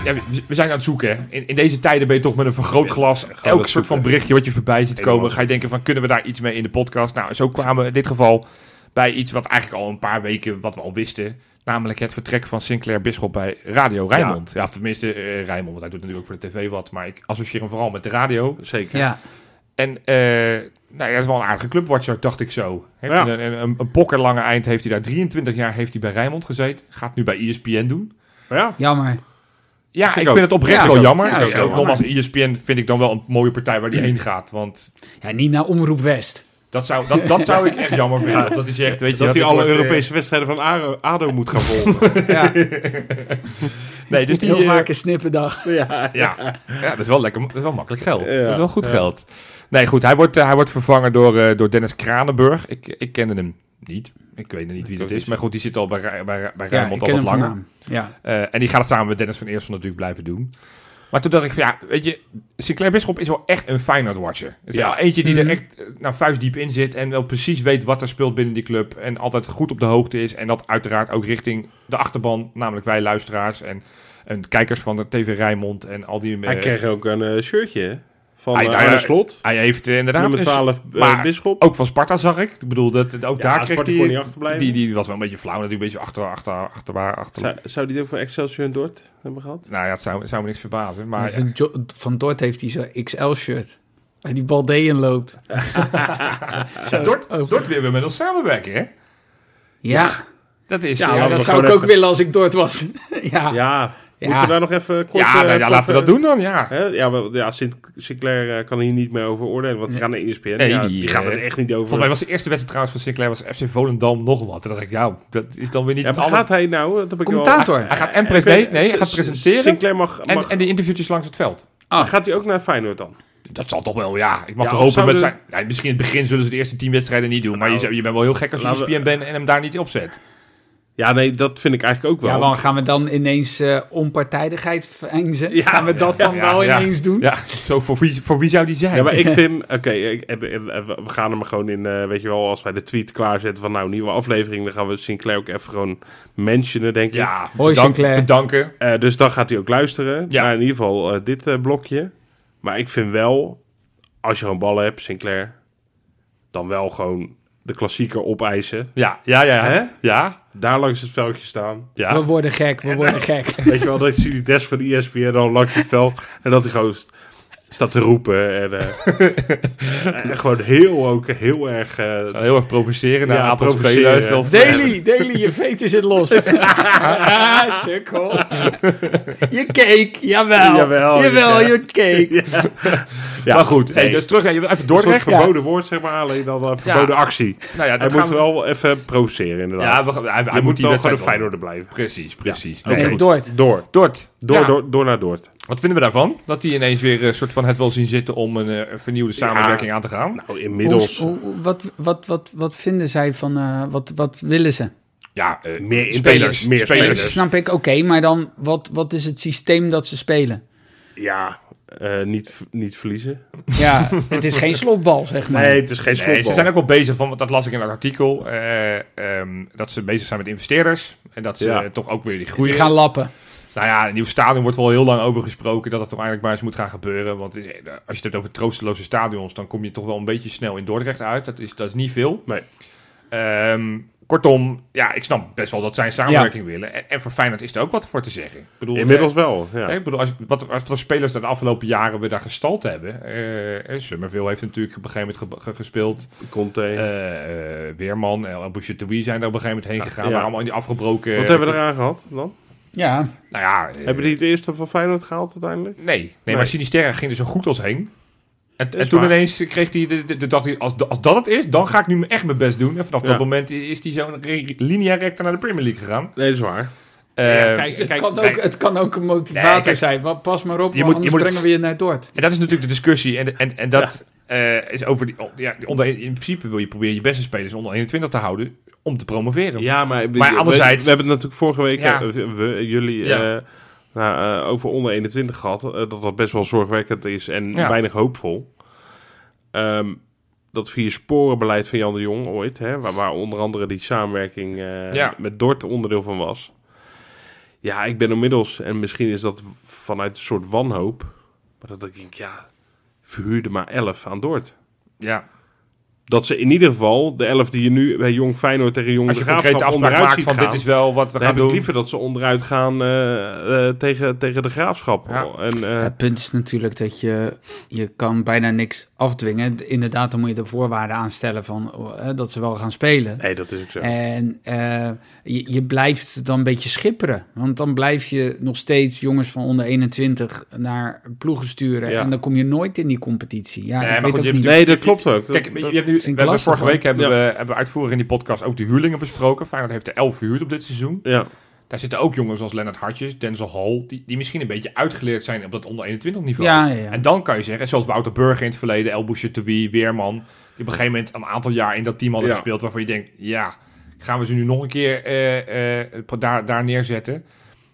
Ja, we- we zijn aan het zoeken. hè. In, in deze tijden ben je toch met een vergrootglas.
het
elk soort
zoeken.
van berichtje wat je voorbij ziet komen.
Helemaal.
Ga je denken van kunnen we daar iets mee in de podcast. Nou zo kwamen we in dit geval bij iets wat eigenlijk al een paar weken wat we al wisten. Namelijk het vertrek van Sinclair Bisschop bij Radio Rijnmond. Ja, of tenminste eh Rijnmond. Want hij doet natuurlijk ook voor de tv wat. Maar ik associeer hem vooral met de radio.
Zeker.
Ja,
En eh nou, ja, dat is wel een aardige clubwatcher, dacht ik zo. Heeft
Ja.
Een, een, een pokkerlange eind heeft hij daar. 23 jaar heeft hij bij Rijnmond gezeten. Gaat nu bij E ESPN doen.
Maar ja,
jammer.
Ja, ik,
ik ook.
vind het oprecht
Ja,
wel
ik ook.
jammer.
Ja,
Ik-
is jammer.
Nogmaals, E ESPN vind ik dan wel een mooie partij waar die heen gaat. Want
Ja, niet naar Omroep West.
dat zou, dat, dat zou ik echt jammer vinden. Dat hij zegt, weet je...
dat hij
dit
alle
wordt, eh,
Europese wedstrijden van ADO, ADO moet gaan volgen.
Ja,
Nee, dus die...
heel
eh,
vaak een snippendag.
ja.
ja. ja, dat is wel lekker. Dat is wel makkelijk geld.
Ja.
Dat is wel goed geld. Nee, goed. Hij wordt, eh, hij wordt vervangen door, eh, door Dennis Kranenburg. Ik, ik kende hem niet. Ik weet niet wie
Ik
dat
ook
is.
niet.
Maar goed, die zit al bij, Rij- bij, bij
Ja,
Rijnmond
ik
al
ken
wat
hem van
langer.
naam. Ja.
Eh, en die gaat het samen met Dennis van Eerst van natuurlijk blijven doen. Maar toen dacht ik van ja, weet je, Sinclair Bisschop is wel echt een Feyenoord-watcher. Het is
Ja.
wel eentje die
Mhm.
er echt eh, nou, vuistdiep in zit en wel precies weet wat er speelt binnen die club. En altijd goed op de hoogte is. En dat uiteraard ook richting de achterban, namelijk wij luisteraars en, en kijkers van de TV Rijnmond en al die... eh,
Hij kreeg ook een eh, shirtje hè, van
Hij-
eh,
hij-
Arne Slot.
hij heeft eh, inderdaad...
Nummer
een-
12 eh,
maar-
Bisschop.
Ook van Sparta zag ik. Ik bedoel, dat, ook
Ja,
daar kreeg
Sparta kon niet
hij...
achterblijven.
Die, die was wel een beetje flauw natuurlijk, een beetje achter, achter, achter, achter.
Zou, zou die het ook van Excelsior en Dort hebben gehad?
Nou ja, het zou, zou me niks verbazen. Maar,
Maar van, Jo- van Dort heeft hij zo'n XL-shirt. Waar die Baldeën loopt.
Eh,
Zo,
Dort,
over-
Dort wil weer met ons samenwerken, hè?
Ja,
Dat is...
Ja,
eh,
ja,
laten we
dat zou ik
gewoon
ook willen als ik Dort was. ja.
Ja.
Ja.
Moeten we daar nog even kort...
Ah. ja,
eh,
nou ja,
voor-
laten we dat doen dan, ja.
Hè? Ja, wel- ja Sint Sinclair eh, kan hier niet meer over oordelen, want die gaan naar E ESPN.
Nee,
ja, die
die,
gaan er
eh,
echt niet over.
Volgens mij was de eerste wedstrijd trouwens van Sinclair was FC Volendam nog wat. Toen dacht ik, ja, dat is dan weer niet
ja,
het
maar
aller-
gaat hij nou? Dat heb ik wel-
Commentator.
Hij gaat en pres- nee, nee, hij gaat
S-
presenteren
Sinclair mag...
en,
mag-
en de interviewtjes langs het veld.
Ah.
Gaat hij ook naar Feyenoord dan?
Dat zal toch wel, ja. Ik mag
Ja,
er
of
hopen met
zouden-
zijn... Ja, misschien in het begin zullen ze de eerste tien wedstrijden niet doen. Maar je,
Nou,
zou- je bent wel heel gek als je E
laten we-
ESPN bent en hem daar niet opzet.
Ja, nee, dat vind ik eigenlijk ook wel.
Ja, want gaan we dan ineens eh, onpartijdigheid veinzen?
Ja.
gaan we dat dan
Ja,
wel
ja.
ineens doen?
Ja, zo voor wie, voor wie zou die zijn?
Ja, maar ik vind... Oké, ik- eh, eh, eh, we gaan hem gewoon in... eh, weet je wel, als wij de tweet klaarzetten van... Nou, nieuwe aflevering, dan gaan we Sinclair ook even gewoon mentionen, denk ik.
Ja,
Hoi,
bedank-
Sinclair.
bedanken.
Eh, dus dan gaat hij ook luisteren.
Ja.
Maar in ieder geval eh, dit eh, blokje. Maar ik vind wel, als je gewoon ballen hebt, Sinclair... Dan wel gewoon de klassieker opeisen.
Ja, ja, ja.
Hè?
Ja, ja.
Daar langs het veldje staan.
We worden gek, we worden gek.
Weet je wel, dat zie die desk van E ESPN al langs het veld. En dat hij gewoon st- staat te roepen. En, eh, en gewoon heel, ook heel erg... eh,
Heel erg provoceren naar
Ja,
een aantal
provoceren.
spelers. Of,
Daily, Daily, je vetus zit los. ah, sukkel. Je cake, jawel.
Jawel,
jawel,
ja.
je cake.
ja,
maar goed, hey,
nee,
dus
een
terug naar je- even
soort
Dordrecht.
verboden woord, zeg maar. Alleen dan eh, verboden actie.
Nou ja,
Hij
dat
moet
gaan we-
wel even provoceren, inderdaad.
Ja, we, gaan- hij, hij
je moet
die
wel
wedstrijd
gewoon een Feyenoorder blijven.
Precies, precies.
Ja.
Nee.
Oké.
Met Dort.
Door.
Dort,
Door,
Ja.
door, door naar Doord.
Wat vinden we daarvan? Dat die ineens weer een soort van het wel zien zitten om een eh, vernieuwde samenwerking aan te gaan.
Nou, inmiddels
Hoe- hoe- wat, wat, wat, wat vinden zij van... eh, wat, wat willen ze?
ja, eh,
meer
spelers.
Meer
Spelers.
spelers.
Dat snap ik, oké. maar dan, wat, wat is het systeem dat ze spelen?
Ja, eh, niet, niet verliezen.
Ja, het is geen slotbal, zeg maar.
Nee, het is geen
Nee,
schotbal.
ze zijn ook wel bezig, van, want dat las ik in dat artikel, eh, ehm, dat ze bezig zijn met investeerders. En dat ze
Ja.
eh, toch ook weer die groei
Die gaan lappen.
Nou ja, een nieuw stadion wordt wel heel lang over gesproken dat het toch eigenlijk maar eens moet gaan gebeuren. Want eh, als je het hebt over troosteloze stadions, dan kom je toch wel een beetje snel in Dordrecht uit. Dat is, dat is niet veel.
Nee.
Ehm, kortom, ja, ik snap best wel dat zij een samenwerking willen. En, en voor Feyenoord is er ook wat voor te zeggen. Ik bedoel,
Inmiddels wel, ja.
eh, ik bedoel, als, wat, wat voor spelers er de afgelopen jaren we daar gestald hebben. Eh, eh, Summerville heeft natuurlijk op een gegeven moment ge- ge- gespeeld.
Conte.
Eh, eh, Weerman, El Bouchetoui zijn er op een gegeven moment heen gegaan.
ja.
Maar allemaal in die afgebroken...
Wat hebben we eraan gehad dan?
Ja,
Nou ja, eh,
Hebben die het eerste van Feyenoord gehaald uiteindelijk?
Nee, nee,
Nee.
maar Sinisterra ging er zo goed als heen. En, en
is
toen
waar.
ineens kreeg hij, de, de, de- dacht hij, als, da- als dat het is, dan ga ik nu echt mijn best doen. En vanaf
Ja.
dat moment is hij zo re- linea recta naar de Premier League gegaan.
Nee, dat is waar.
Eh,
het, kan ook,
kijk.
het kan ook een motivator
Nee, kijk.
zijn. Maar Pas maar op,
Je
je
moet- je
anders
moet-
brengen we je naar Dordt.
En dat is natuurlijk de discussie. En, en, en dat eh, is over die, ja, die onder, in principe wil je proberen je beste spelers onder 21 te houden om te promoveren.
Ja, maar,
Maar anderzijds-
We, we hebben het natuurlijk vorige week,
Ja.
eh, we- we- jullie,
Ja.
eh, nou, eh, over onder 21 gehad. eh, dat dat best wel zorgwekkend is en
Ja.
weinig hoopvol. Ehm, dat vier sporenbeleid van Jan de Jong ooit, hè, waar, waar onder andere die samenwerking eh,
Ja.
met Dort onderdeel van was. Ja, ik ben inmiddels, en misschien is dat vanuit een soort wanhoop, maar dat ik denk, ja, verhuurde maar 11 aan Dort.
Ja.
Dat ze in ieder geval de 11 die je nu bij Jong Feyenoord tegen Jong
Als je
de
concreet
Graafschap
afspraak
onderuit
maakt
ziet
van
gaan,
dit is wel wat we
dan
gaan
heb ik
doen.
liever dat ze onderuit gaan eh, eh, tegen, tegen de graafschap.
Ja.
En, eh,
het punt is natuurlijk dat je, je kan bijna niks afdwingen. Inderdaad, dan moet je de voorwaarden aanstellen van, eh, dat ze wel gaan spelen.
nee, dat is ook zo.
En eh, je, je blijft dan een beetje schipperen. Want dan blijf je nog steeds jongens van onder 21 naar ploegen sturen.
Ja.
En dan kom je nooit in die competitie. Ja,
Nee,
ik
maar
weet
goed,
ook
je
niet.
hebt
nee, dat klopt ook.
Kijk,
Dat-
je
dat-
hebt nu, we
ik
hebben
lastig,
vorige
hoor.
week hebben,
Ja.
we, hebben we uitvoerig in die podcast ook de huurlingen besproken. Feyenoord heeft er 11 verhuurd op dit seizoen.
ja.
Daar zitten ook jongens als Lennart Hartjes, Denzel Hall, die, die misschien een beetje uitgeleerd zijn op dat onder 21 niveau.
Ja, ja, ja.
En dan kan je zeggen, zoals Wouter Burger in het verleden, El Bouchetoui, Weerman, die op een gegeven moment een aantal jaar in dat team hadden
Ja.
gespeeld, waarvan je denkt, ja, gaan we ze nu nog een keer eh, eh, daar, daar neerzetten?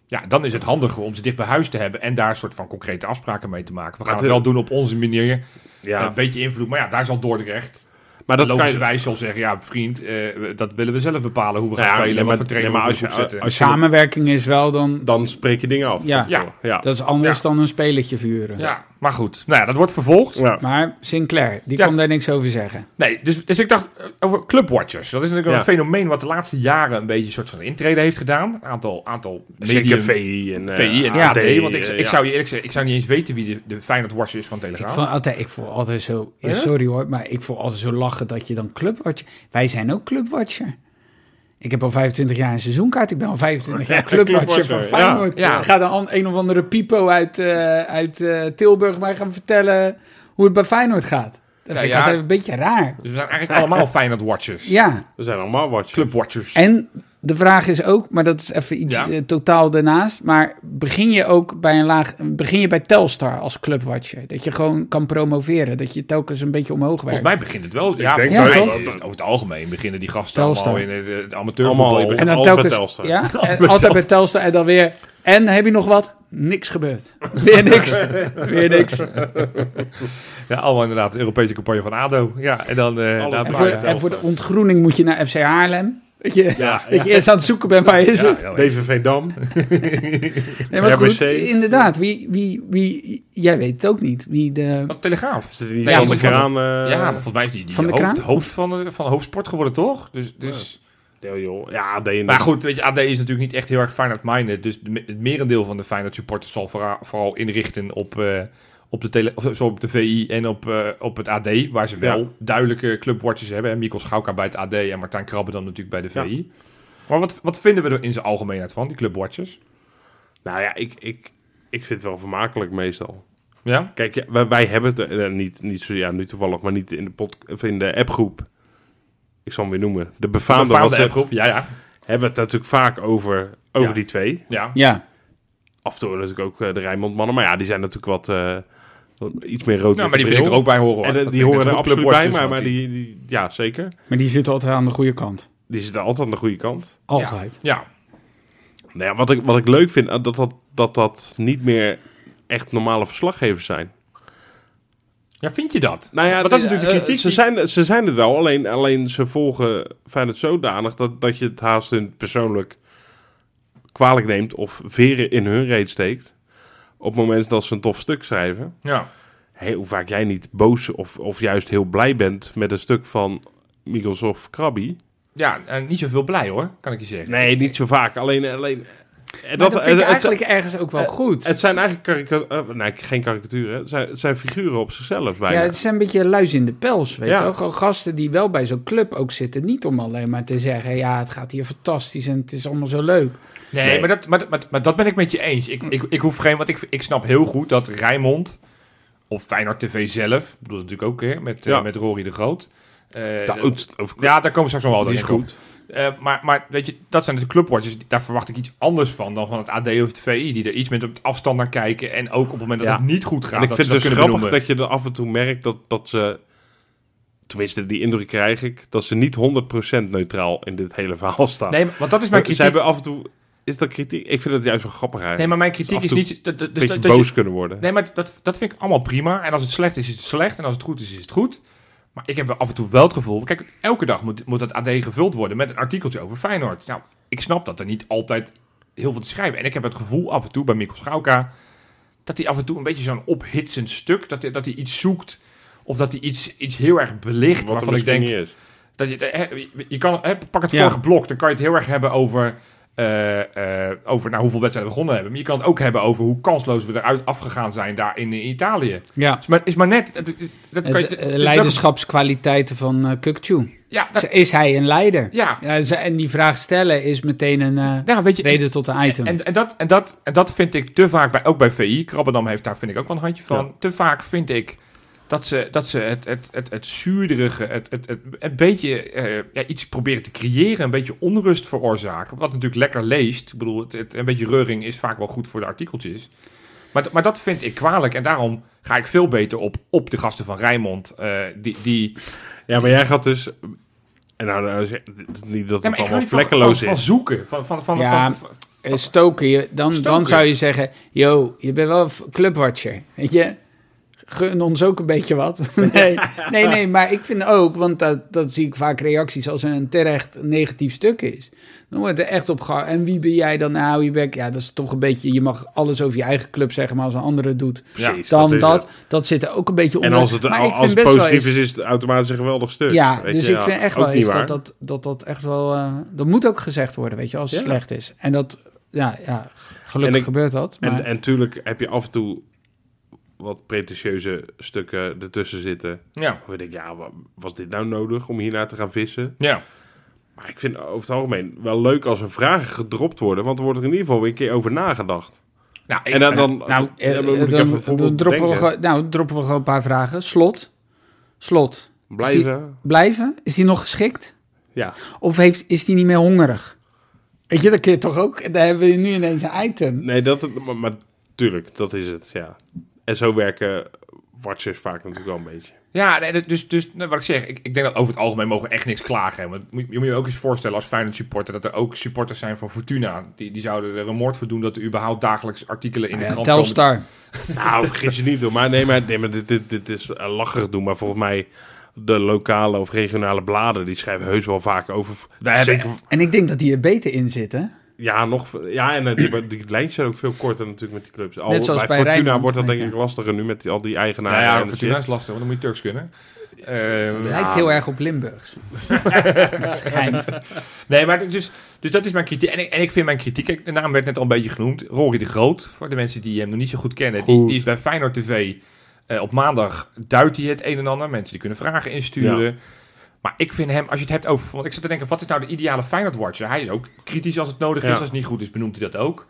Ja, dan is het handiger om ze dicht bij huis te hebben en daar een soort van concrete afspraken mee te maken. We gaan
Maar
het
de-
wel doen op onze manier, eh,
ja.
een beetje invloed, maar ja, daar zal Dordrecht
maar dat kan je...
logischerwijs zal zeggen, ja, vriend, eh, dat willen we zelf bepalen hoe we gaan
Nou Ja, nee,
spelen, wat
maar-
voor trainer
nee, maar
we
als
op
je-
zetten.
als je-
Samenwerking is wel dan...
Dan spreek je dingen af.
Ja.
Ja.
ja.
Dat is anders
Ja.
dan een spelletje vuren.
Ja, maar goed. Nou ja, dat wordt vervolgd.
Ja.
Maar Sinclair, die
Ja.
kan daar niks over zeggen.
Nee, dus, dus ik dacht eh, over clubwatchers. Dat is natuurlijk een
Ja.
fenomeen wat de laatste jaren een beetje een soort van intrede heeft gedaan. Een aantal, aantal media,
Zeker VI en eh,
VI en
AD,
AD. want ik,
eh,
ik
ja.
zou je eerlijk zeggen, ik zou niet eens weten wie de, de Feyenoord watcher is van
Ik,
Telegraaf.
vond altijd, ik voel altijd zo... ja,
Ja?
sorry hoor, maar ik voel altijd zo lachen dat je dan clubwatcher... Wij zijn ook clubwatcher. Ik heb al 25 jaar een seizoenkaart. Ik ben al 25 jaar clubwatcher van
clubwatcher, ja.
Feyenoord.
Ja.
Ga dan an- een of andere pipo uit, eh, uit eh, Tilburg mij gaan vertellen hoe het bij Feyenoord gaat. Dat
Ja,
vind ik
ja.
altijd een beetje raar.
Dus we zijn eigenlijk allemaal Feyenoord watchers.
Ja,
We zijn allemaal watchers.
Clubwatchers.
en de vraag is ook, maar dat is even iets
Ja.
eh, totaal daarnaast. Maar begin je ook bij een laag, begin je bij Telstar als clubwatcher? Dat je gewoon kan promoveren, dat je telkens een beetje omhoog werkt.
Volgens mij begint het wel. Ja,
denk
volgens
dat-
mij, eh, over het algemeen beginnen die gasten
Telstar.
allemaal in eh, de, de
Allemaal,
amateurvoetbal.
ik
en
begin-
En-
dan
altijd bij
telkens,
Telstar.
ja, en altijd, bij Telstar en dan weer. En heb je nog wat? Niks gebeurd. Weer niks. weer niks. En
Ja, allemaal inderdaad de Europese campagne van ADO. Ja, en dan... eh,
Alles
na een
bij
paar
voor,
jaar-
en voor de ontgroening moet je naar FC Haarlem. Dat je,
Ja.
dat je eerst aan het zoeken bent, waar is
Ja,
het?
ja,
BVV Dam.
Nee, maar goed,
RBC.
inderdaad. Wie, wie, wie, jij weet het ook niet. Wie de,
Van Telegraaf.
Is het niet
Ja,
van de
maar-
kraan? eh,
ja, maar volgens mij is die, die
Van de
hoofd,
kraan?
hoofd van, de- van hoofdsport geworden, toch? Dus, dus...
Ja, joh. Ja, AD en
Maar goed, weet je, AD is natuurlijk niet echt heel erg Feyenoord-minded. Dus de me- het merendeel van de Feyenoord-supporters zal vooral, vooral inrichten op, eh, op, de tele, of, zo op de VI en op, eh, op het AD. Waar ze wel
Ja.
duidelijke clubwatchers hebben. En Mikkel Schauka bij het AD en Martijn Krabbe dan natuurlijk bij de VI. Maar wat, wat vinden we er in zijn algemeenheid van, die clubwatchers?
Nou ja, ik, ik, ik vind het wel vermakelijk meestal.
Ja?
Kijk, ja, wij, wij hebben het er, eh, niet, niet zo, ja, nu toevallig, maar niet in de, pod, of in de appgroep. Ik zal hem weer noemen. De befaamde,
Befaamde
WhatsApp
appgroep, ja, ja.
Hebben we het natuurlijk vaak over, over
Ja.
die twee.
ja.
ja,
Af en toe natuurlijk ook eh, de Rijnmond mannen. Maar ja, die zijn natuurlijk wat, eh, wat iets meer rood. met
Nou, maar
de
die vind ik er
bril.
ook bij horen. hoor.
En eh,
Dat
die
vind ik
horen
net
er
zo goed
absoluut bij,
clubwatchers,
maar, maar
want
die, die- ja, zeker.
maar die zitten altijd aan de goede kant.
Die zitten altijd aan de goede kant.
Altijd.
Ja,
Nou ja, wat ik, wat ik leuk vind, eh, dat dat, dat, dat niet meer echt normale verslaggevers zijn.
Ja, vind je dat?
Nou ja,
Want dat is natuurlijk de
eh,
kritiek.
Ze
die-
zijn, ze zijn het wel, alleen, alleen ze volgen Feyenoord zodanig dat, dat je het haast hun persoonlijk kwalijk neemt of veren in hun reet steekt. Op het moment dat ze een tof stuk schrijven.
Ja.
Hé, hoe vaak jij niet boos of, of juist heel blij bent met een stuk van Mikkels of Krabby.
ja, en niet zoveel blij hoor, kan ik je zeggen.
Nee, niet zo vaak. Alleen, alleen... en
Dat, vind ik
het- het-
eigenlijk ergens ook wel goed.
Het zijn eigenlijk karikaturen. nee, geen karikaturen. hè. Het zijn, het zijn figuren op zichzelf bijna.
ja, het zijn een beetje luis in de pels, weet
Ja.
je wel. Gewoon gasten die wel bij zo'n club ook zitten. Niet om alleen maar te zeggen, ja, het gaat hier fantastisch en het is allemaal zo leuk.
Nee,
Nee.
Maar, dat, maar, dat- maar, maar dat ben ik met je eens. Ik, ik, ik hoef geen, want ik, ik snap heel goed dat Rijnmond of Feyenoord TV zelf, ik bedoel dat natuurlijk ook weer met, eh,
Ja.
met Rory de Groot. eh,
De oudste- of-
ja, daar komen we straks nog wel
die is
denk ik op.
oh, goed.
Eh, maar, maar weet je, dat zijn de clubwatches. Daar verwacht ik iets anders van dan van het AD of het VI. Die er iets met op het afstand naar kijken. En ook op het moment dat
Ja.
het niet goed gaat.
en ik
dat
vind
ze
het
dat
dus
kunnen
grappig dat
benoemen.
je er af en toe merkt dat, dat ze... Tenminste, die indruk krijg ik. Dat ze niet 100% neutraal in dit hele verhaal staan.
Nee, maar- want dat is mijn
Ze
kritiek.
hebben af en toe... Is dat kritiek? Ik vind het juist wel grappig eigenlijk.
Nee, maar mijn
af
kritiek
en
is
toe
niet... dat- dat-
een
Dus
beetje
dat, dat
boos
je-
kunnen worden.
nee, maar dat, dat vind ik allemaal prima. En als het slecht is, is het slecht. En als het goed is, is het goed. Maar ik heb wel af en toe wel het gevoel... Kijk, elke dag moet, moet dat AD gevuld worden met een artikeltje over Feyenoord. Nou, ik snap dat er niet altijd heel veel te schrijven. En ik heb het gevoel af en toe bij Mikkel Schauka... dat hij af en toe een beetje zo'n ophitsend stuk... dat hij, dat hij iets zoekt... Of dat hij iets, iets heel erg belicht.
Wat er dus
waarvan ik
misschien
denk.
niet is.
Dat je, hè, je kan, hè, pak het
Ja.
vorige blok, dan kan je het heel erg hebben over, eh, eh, over nou, hoeveel wedstrijden we gewonnen hebben. Maar je kan het ook hebben over hoe kansloos we eruit afgegaan zijn daar in, eh, Italië.
Ja.
Is maar, is maar net... Dat, dat- dat kan je, dus
Het, eh,
dat- dat-
leiderschapskwaliteiten van eh Kukchu.
Ja, dat-
Is hij een leider?
ja,
Ja, ze- en die vraag stellen is meteen een eh,
nou, weet je...
reden tot een item.
En, en, dat, en, dat, en dat vind ik te vaak, bij, ook bij VI, Krabbendam heeft daar vind ik ook wel een handje van. Te vaak vind ik dat ze, dat ze het, het, het, het zuurderige, het, het, het, een beetje eh, ja, iets proberen te creëren, een beetje onrust veroorzaken. Wat natuurlijk lekker leest. Ik bedoel, het, het- een beetje reuring is vaak wel goed voor de artikeltjes. Maar, d- maar dat vind ik kwalijk en daarom ga ik veel beter op, op de gasten van Rijnmond. eh, die, die,
Ja, maar jij gaat dus... En nou, nou, zeg- niet dat
Ja,
het
maar ik hou
allemaal
niet van-
vlekkeloos
van, van,
is.
zoeken. Van, van, van,
Ja,
van, van-
Eh, stoken, je, dan, dan
Stoken.
zou je zeggen, yo, je bent wel een f- clubwatcher, weet je. Gun ons ook een beetje wat. Nee, nee, nee maar ik vind ook, want dat, dat zie ik vaak reacties als er een terecht negatief stuk is. Dan wordt er echt op geha- En wie ben jij dan? Nou, je bek. Ja, dat is toch een beetje, je mag alles over je eigen club zeggen, maar als een andere doet,
Precies,
dan dat.
is
Dat,
het.
zit er ook een beetje onder.
En als het,
Maar ik
als
vind
het
best wel
positief
eens-
is, is het automatisch een geweldig stuk.
ja,
Weet
dus
je,
ik vind echt
ook
wel
niet
eens
waar.
dat dat, dat dat echt wel... eh, dat moet ook gezegd worden, weet je, als het
Ja.
slecht is. En dat, ja, ja gelukkig
En ik-
gebeurt dat. Maar,
En, en tuurlijk heb je af en toe wat pretentieuze stukken ertussen zitten.
ja,
Waarvan ik denk, ja, wa- was dit nou nodig om hiernaar te gaan vissen?
ja.
Maar ik vind over het algemeen wel leuk als er vragen gedropt worden. Want er wordt er in ieder geval weer een keer over nagedacht.
Nou, ik-
En dan, dan,
nou,
ja,
eh,
maar moet ik
dan,
even een
dan
voorbeeld
droppen we
bedenken.
gewoon, nou, droppen we gewoon een paar vragen. Slot. Slot.
Blijven.
Blijven? Is die nog geschikt?
Ja.
Of heeft, is die niet meer hongerig? Weet je, dat kun je toch ook... Daar hebben we nu ineens een item.
Nee, dat, maar, maar tuurlijk, dat is het, ja. En zo werken watchers vaak natuurlijk wel een beetje.
Ja, nee, dat- dus, dus nou, wat ik zeg, ik, ik denk dat over het algemeen mogen we echt niks klagen. Want moet- je moet je ook eens voorstellen als Feyenoord supporter... dat er ook supporters zijn van Fortuna. Die, die zouden er een moord voor doen dat er überhaupt dagelijks artikelen in de
Ja,
krant
Eh, Telstar.
Nou, vergis je niet hoor. Maar nee, maar, nee, maar dit, dit, dit is eh, lacherig doen. Maar volgens mij, de lokale of regionale bladen, die schrijven heus wel vaak over. Zeker,
En ik denk dat die er beter in zitten.
ja, nog, ja, en eh, die, maar die lijntjes zijn ook veel korter natuurlijk met die clubs. Al,
Net zoals bij
Fortuna
Rijnmond,
wordt dat
maar
denk
ja.
ik lastiger nu met die, al die
Nou
eigenaren.
ja,
en
Fortuna
shit.
is lastig, want dan moet je Turks kunnen. Eh,
Het
ja.
lijkt heel erg op Limburgs. Schijnt.
Nee, maar dus, dus dat is mijn kritiek. En ik, en ik vind mijn kritiek, kijk, de naam werd net al een beetje genoemd. Rory de Groot, voor de mensen die hem nog niet zo goed kennen. Die,
Goed.
die is bij Feyenoord TV. Eh, op maandag duidt hij het een en ander. Mensen die kunnen vragen insturen. Maar ik vind hem, als je het hebt over... Want ik zat te denken, wat is nou de ideale Feyenoord-watcher? Hij is ook kritisch als het nodig
Ja.
is. Als het niet goed is, benoemt hij dat ook.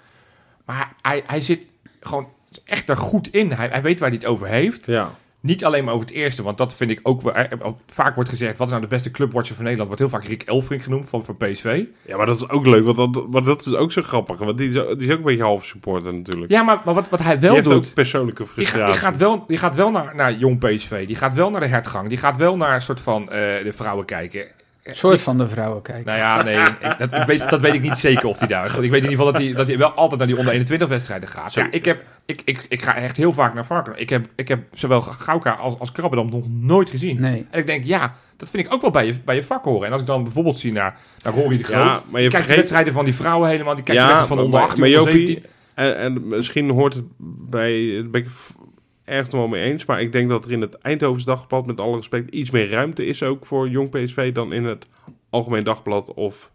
Maar hij, hij zit gewoon echt er goed in. Hij, hij weet waar hij het over heeft.
Ja.
Niet alleen maar over het eerste, want dat vind ik ook wel. eh, Vaak wordt gezegd: wat is nou de beste clubwatcher van Nederland? Wordt heel vaak Rick Elfrink genoemd van, van PSV.
ja, maar dat is ook leuk, want dat, maar dat is ook zo grappig. Want die is, ook- die is ook een beetje half supporter natuurlijk.
Ja, maar, maar wat, wat hij
die
wel
heeft
doet.
ook persoonlijke
Die,
frustratie.
gaat- die gaat wel, die gaat wel naar, naar jong PSV. Die gaat wel naar de hertgang. Die gaat wel naar een soort van eh, de vrouwen kijken.
soort van de vrouwen kijken.
Nou ja, nee, ik- dat, ik weet, dat weet ik niet zeker of hij daar... Ik weet in ieder geval dat hij, dat hij wel altijd naar die onder 21 wedstrijden gaat. Ja, ik, heb, ik, ik, ik ga echt heel vaak naar Varkenoord. Ik heb, ik heb zowel Gauka als, als Krabbedam nog nooit gezien.
Nee.
En ik denk, ja, dat vind ik ook wel bij je, bij je vak horen. En als ik dan bijvoorbeeld zie naar, naar Rory de Groot...
Ja, maar je
die kijkt de
vergeet-
wedstrijden van die vrouwen helemaal. Die kijkt
Ja,
de wedstrijd
maar-
van onder
maar-
18,
maar Jopie-
onder 17.
En, en misschien hoort het bij... Daar ben ik het ergens nog wel mee eens. Maar ik denk dat er in het Eindhovense dagblad, met alle respect, iets meer ruimte is ook voor jong PSV dan in het Algemeen Dagblad of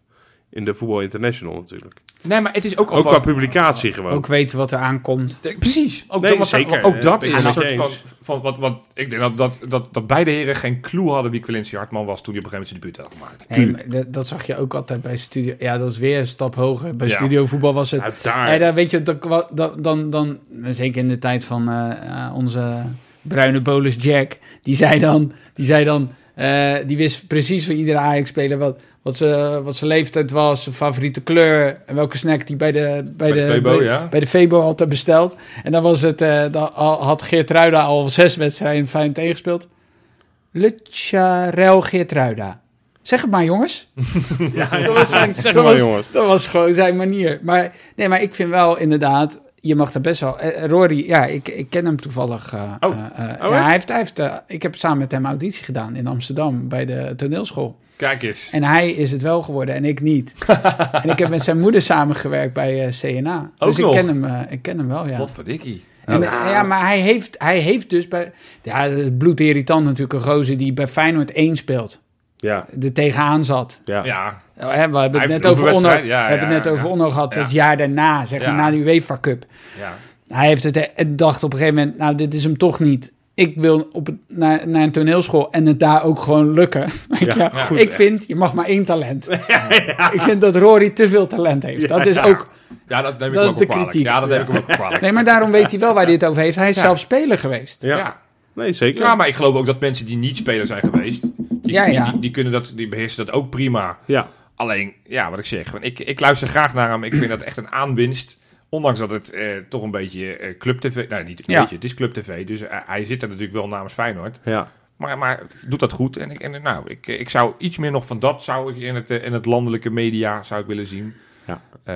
in de Voetbal International natuurlijk.
Nee, maar het is ook
Ook qua
alvast...
publicatie gewoon.
Ook weten wat er aankomt.
Nee, Precies. Ook
Nee,
dat, want-
zeker.
Ook dat
Eh,
is
ben ik
een
met
soort
je
van... van wat, wat, ik denk dat, dat, dat, dat beide heren geen clue hadden wie Quincy Hartman was... toen hij op een gegeven moment zijn debuut had gemaakt.
Nee, maar dat, dat zag je ook altijd bij studio. Ja, dat is weer een stap hoger. Bij
Ja.
studio voetbal was het.
Nou, daar.
Ja, daar weet je, dan, kwa- dan, dan, dan, zeker in de tijd van eh, eh, onze bruine bolus Jack, die zei dan, die, zei dan eh, die wist precies van iedere Ajax-speler wat, wat, ze, wat zijn leeftijd was, zijn favoriete kleur en welke snack die bij de, bij
de
de,
Febo,
bij,
ja.
bij de Febo altijd besteld. En dan, was het, eh, dan al- had Geert Ruida al zes wedstrijden fijn tegengespeeld. Lucharel Geert Ruida. Zeg het maar, jongens. Dat was, zijn, dat,
maar,
was,
jongens.
dat was gewoon zijn manier. Maar, nee, maar ik vind wel inderdaad, je mag er best wel. eh, Rory, ja, ik, ik ken hem toevallig. eh,
Oh.
eh, eh,
Oh,
ja,
echt?
hij heeft, hij heeft, eh, ik heb samen met hem auditie gedaan in Amsterdam bij de toneelschool.
Kijk eens.
En hij is het wel geworden en ik niet. en ik heb met zijn moeder samengewerkt bij eh, CNA.
Ook
dus
nog?
ik ken hem, eh, ik ken hem wel, ja.
Wat voor dikkie.
En, eh, ja, maar hij heeft, hij heeft dus bij. Ja, het bloedirritant natuurlijk een gozer die bij Feyenoord 1 speelt.
Ja,
Er tegenaan zat.
ja.
Ja,
Oh, hè, we hebben
Hij
het
heeft
net
een
over Onno,
oefenwedstrijd, ja,
we hebben
ja,
het net over
ja.
Onno gehad,
Ja.
het jaar daarna, zeg maar,
Ja.
na die UEFA Cup.
ja.
Hij heeft het en dacht op een gegeven moment, nou, dit is hem toch niet. Ik wil op het, naar, naar een toneelschool en het daar ook gewoon lukken. Weet je?
Ja,
goed,
ik
ja.
vind, je mag maar één talent. Ik vind dat Rory te veel talent heeft. dat is ook...
Ja, dat neem ik
Dat
hem
is
ook wel
de
kwalijk.
kritiek.
Ja, dat neem ik hem ook wel kwalijk.
Nee, maar daarom weet hij wel waar hij het over heeft. Hij is
Ja.
zelf speler geweest.
Ja.
Ja.
nee zeker.
ja, maar ik geloof ook dat mensen die niet speler zijn geweest, die,
Ja, ja.
Die, die, die kunnen dat, die beheersen dat ook prima.
Ja.
Alleen, ja, wat ik zeg, want ik, ik luister graag naar hem. Ik vind dat echt een aanwinst. Ondanks dat het eh, toch een beetje eh, Club TV... Nou, niet een
Ja.
beetje, het is Club TV. Dus eh, hij zit er natuurlijk wel namens Feyenoord.
Ja.
Maar, maar doet dat goed. En, ik, en eh, nou, ik, ik zou iets meer nog van dat zou ik in het, eh, in het landelijke media zou ik willen zien.
Ja.
Eh,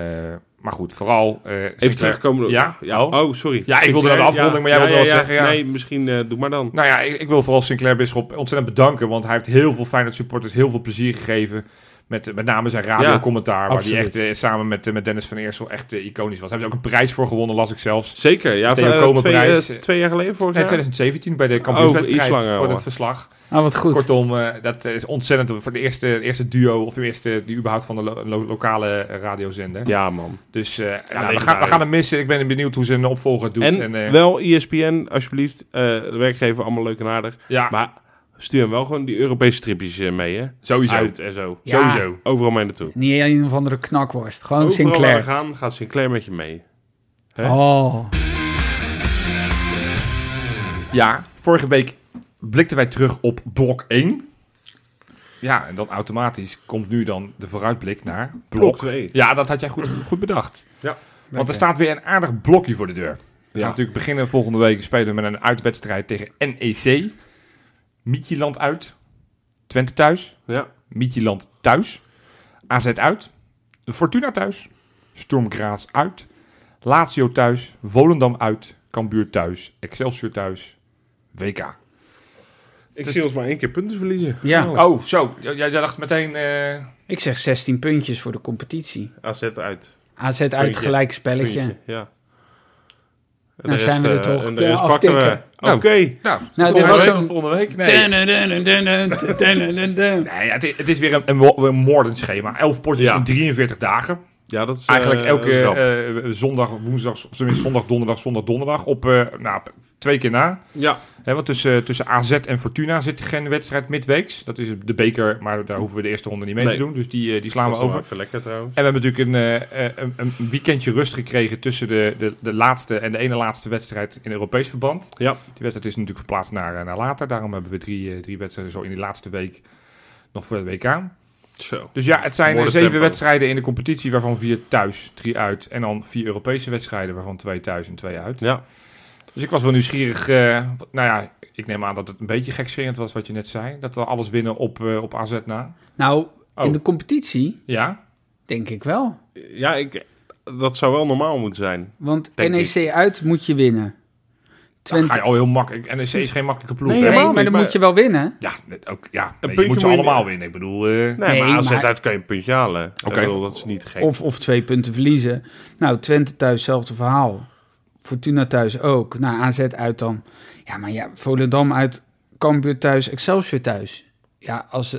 maar goed, vooral... eh,
Even
Sinclair-
terugkomen. op-
Ja?
ja.
Oh.
Oh, sorry.
Ja, ik wilde naar de afronding, maar jij wilde wel zeggen, ja.
Nee, misschien eh, doe maar dan.
Nou ja, ik, ik wil vooral Sinclair Bisschop ontzettend bedanken. Want hij heeft heel veel Feyenoord supporters heel veel plezier gegeven. Met, eh, met name zijn radiocommentaar. waar hij
absoluut.
echt eh, samen met, eh, met Dennis van Eersel echt eh, iconisch was. Hij heeft ook een prijs voor gewonnen, las ik zelfs.
Zeker. Ja,
Theo
van, eh, twee,
Komenprijs.
eh, twee jaar geleden vorig
Nee,
jaar.
2017 bij de
Oh, iets
kampioenswedstrijd
langer
voor
al.
het verslag.
Nou, wat goed.
Kortom, eh, dat is ontzettend voor de eerste, de eerste duo of de eerste die überhaupt van de lo- lo- lokale eh, radiozender.
Ja, man.
Dus eh, nou, we,
legendarisch.
gaan, we gaan hem missen. Ik ben benieuwd hoe zijn opvolger het doet.
En,
En, eh,
wel E ESPN, alsjeblieft. eh, de werkgever, allemaal leuk en aardig.
ja,
Maar stuur hem wel gewoon die Europese tripjes eh, mee, hè?
sowieso.
Uit en zo.
Ja.
Sowieso.
Overal mee naartoe.
Niet een of andere knakworst. Gewoon
Overal waar we
Sinclair.
gaan, gaat Sinclair met je mee. hè?
Oh.
Ja, vorige week blikten wij terug op blok 1. Ja, en dan automatisch komt nu dan de vooruitblik naar blok
2.
Ja, dat had jij goed, goed bedacht.
Ja.
Want er staat weer een aardig blokje voor de deur. We
Ja.
gaan natuurlijk beginnen volgende week spelen we met een uitwedstrijd tegen NEC. Mietjeland uit. Twente thuis.
Ja.
Mietjeland thuis. AZ uit. Fortuna thuis. Storm Graz uit. Lazio thuis. Volendam uit. Cambuur thuis. Excelsior thuis. WK.
Ik
Dus-
zie ons maar één keer punten verliezen.
Ja.
Nou,
Oh, zo. J- Jij, jij dacht meteen... eh,
Ik zeg 16 puntjes voor de competitie.
AZ uit.
AZ uit gelijk spelletje.
Puntje. Ja. En
Nou, zijn we er toch.
En de rest
Eh,
pakken we.
aftikken.
Oké.
Nou. Nou,
Nou,
nou
dit
dit
was
week,
een-
tot volgende week. Nee.
Nee.
Nee, ja, het, i- het is weer een, een, wo- een moordend schema. Elf potjes
Ja.
in 43 dagen.
Ja, dat is
Eigenlijk
eh, dat is
elke
knap.
eh, zondag, woensdag, of tenminste zondag, donderdag, zondag, donderdag. Op eh, nou, p- twee keer na.
ja.
Hè, want tussen, tussen AZ en Fortuna zit geen wedstrijd midweeks. Dat is de beker, maar daar hoeven we de eerste ronde niet mee
Nee.
te doen. Dus die, eh, die slaan
Dat
we
is
over.
wel even lekker trouwens.
En we hebben natuurlijk een, eh, eh, een, een weekendje rust gekregen tussen de, de, de laatste en de ene laatste wedstrijd in Europees verband.
Ja.
Die wedstrijd is natuurlijk verplaatst naar, eh, naar later. Daarom hebben we drie, eh, drie wedstrijden zo in die laatste week nog voor het WK.
Zo.
Dus ja, het zijn eh,
Mooi
zeven
tempo.
wedstrijden in de competitie, waarvan vier thuis, drie uit. En dan vier Europese wedstrijden, waarvan twee thuis en twee uit.
Ja.
Dus ik was wel nieuwsgierig. eh, wat- nou ja, ik neem aan dat het een beetje gekscherend was wat je net zei. Dat we alles winnen op, eh, op AZ na.
Nou, in
Oh.
de competitie
Ja,
denk ik wel.
Ja, ik, dat zou wel normaal moeten zijn.
Want
Denk
NEC uit moet je winnen.
dan Nou, ga
Twente,
je al heel makkelijk. NEC is geen makkelijke ploeg.
Nee,
hè?
nee,
helemaal
maar dan
niet, maar-
moet je wel winnen.
Ja, net ook, ja. Nee, je
puntje
moet ze
moet je-
allemaal winnen. Ik bedoel, eh,
Nee, maar
Nee,
AZ
maar-
uit kan je een puntje halen.
Oké.
Oké. Dat is niet gek.
Of, of twee punten verliezen. Nou, Twente thuis, hetzelfde verhaal. Fortuna thuis ook. Nou, AZ uit dan. Ja, maar ja, Volendam uit, Cambuur thuis, Excelsior thuis. Ja, als,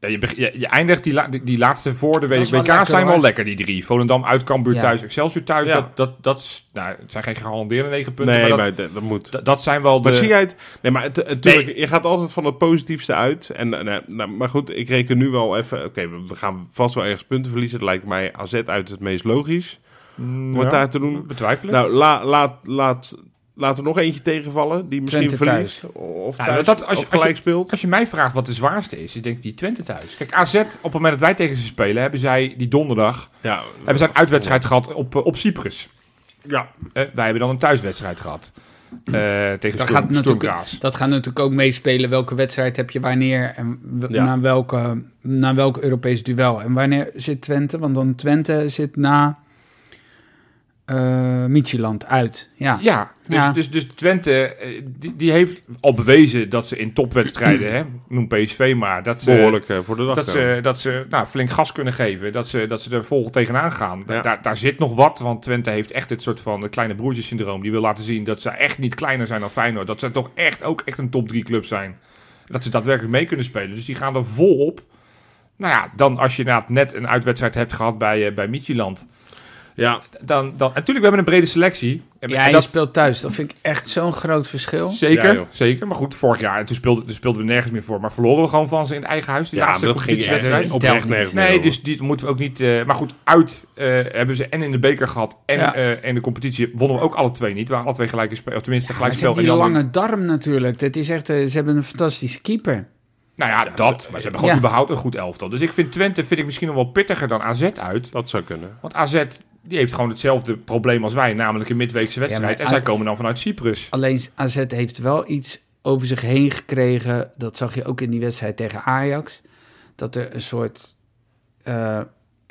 ja, je, beg- je, je eindigt die, la- die, die laatste voor de
Dat is wel
WK
lekker,
zijn wel
hoor.
lekker, die drie. Volendam uit, Cambuur
Ja.
thuis, Excelsior thuis.
Ja.
Dat, dat, dat is, nou, het zijn geen gegarandeerde negen punten,
nee,
maar, dat,
maar dat, dat moet.
dat- dat zijn wel de...
Maar zie jij het? Nee, maar het, natuurlijk, je gaat altijd van het positiefste uit. En, eh, nou, nou, maar goed, ik reken nu wel even. Oké, we we gaan vast wel ergens punten verliezen. Het lijkt mij AZ uit het meest logisch
Mm,
om het
ja,
daar te doen.
Betwijfelen.
Nou, la, laat, laat, laten we nog eentje tegenvallen die misschien
Twente
verliest. Of,
Ja,
thuis,
maar dat- als je-
of gelijk
als je-
speelt.
Nou, Als je mij vraagt wat de zwaarste is, ik denk die Twente thuis. Kijk, AZ, op het moment dat wij tegen ze spelen, hebben zij die donderdag
Ja,
hebben zij een uitwedstrijd gehad op, eh, op Cyprus.
ja.
Eh, wij hebben dan een thuiswedstrijd gehad eh, tegen
dat,
Storm,
gaat natuurlijk,
Stormgraas.
dat gaat natuurlijk ook meespelen. Welke wedstrijd heb je wanneer en w-
Ja.
na, welke, na welk Europees duel? En wanneer zit Twente? Want dan Twente zit na eh Michieland uit. Ja.
Ja, dus,
Ja.
Dus, dus Twente, eh, die, die heeft al bewezen dat ze in topwedstrijden, hè, noem PSV maar, dat ze,
behoorlijk eh, voor de dag.
dat
komen.
ze, dat ze nou, flink gas kunnen geven. Dat ze, dat ze er vol tegenaan gaan.
Ja.
Daar, daar zit nog wat, want Twente heeft echt dit soort van eh, kleine broertjesyndroom. Die wil laten zien dat ze echt niet kleiner zijn dan Feyenoord. Dat ze toch echt ook echt een top 3 club zijn. Dat ze daadwerkelijk mee kunnen spelen. Dus die gaan er vol op. Nou ja, dan als je inderdaad net een uitwedstrijd hebt gehad bij, eh bij Midtjylland.
ja,
Dan, dan, natuurlijk, we hebben een brede selectie. En,
Ja,
en
je
dat,
speelt thuis. Dat vind ik echt zo'n groot verschil.
Zeker,
Ja, joh.
zeker. Maar goed, vorig jaar, en toen speelden, toen speelden we nergens meer voor. Maar verloren we gewoon van ze in het eigen huis. Die
ja maar
laatste
dat ging
competitiewedstrijd.
echt oprecht
Telt
nergens meer
Nee,
over.
dus die moeten we ook niet. eh, maar goed, uit eh, hebben ze en in de beker gehad en
Ja.
eh, en de competitie wonnen we ook alle twee niet. We waren alle twee gelijke spel, of tenminste
Maar
gelijk
ze
spel.
hebben die
en die
lange darm natuurlijk. Dat is echt, eh, ze hebben een fantastische keeper.
andere- Nou ja, dat. Maar ze hebben gewoon
Ja.
überhaupt een goed elftal. Dus ik vind Twente vind ik misschien nog wel pittiger dan AZ uit.
Dat zou kunnen.
Want AZ die heeft gewoon hetzelfde probleem als wij, namelijk een midweekse wedstrijd.
maar
en zij
A-
komen dan vanuit Cyprus.
Alleen AZ heeft wel iets over zich heen gekregen. Dat zag je ook in die wedstrijd tegen Ajax. Dat er een soort... eh,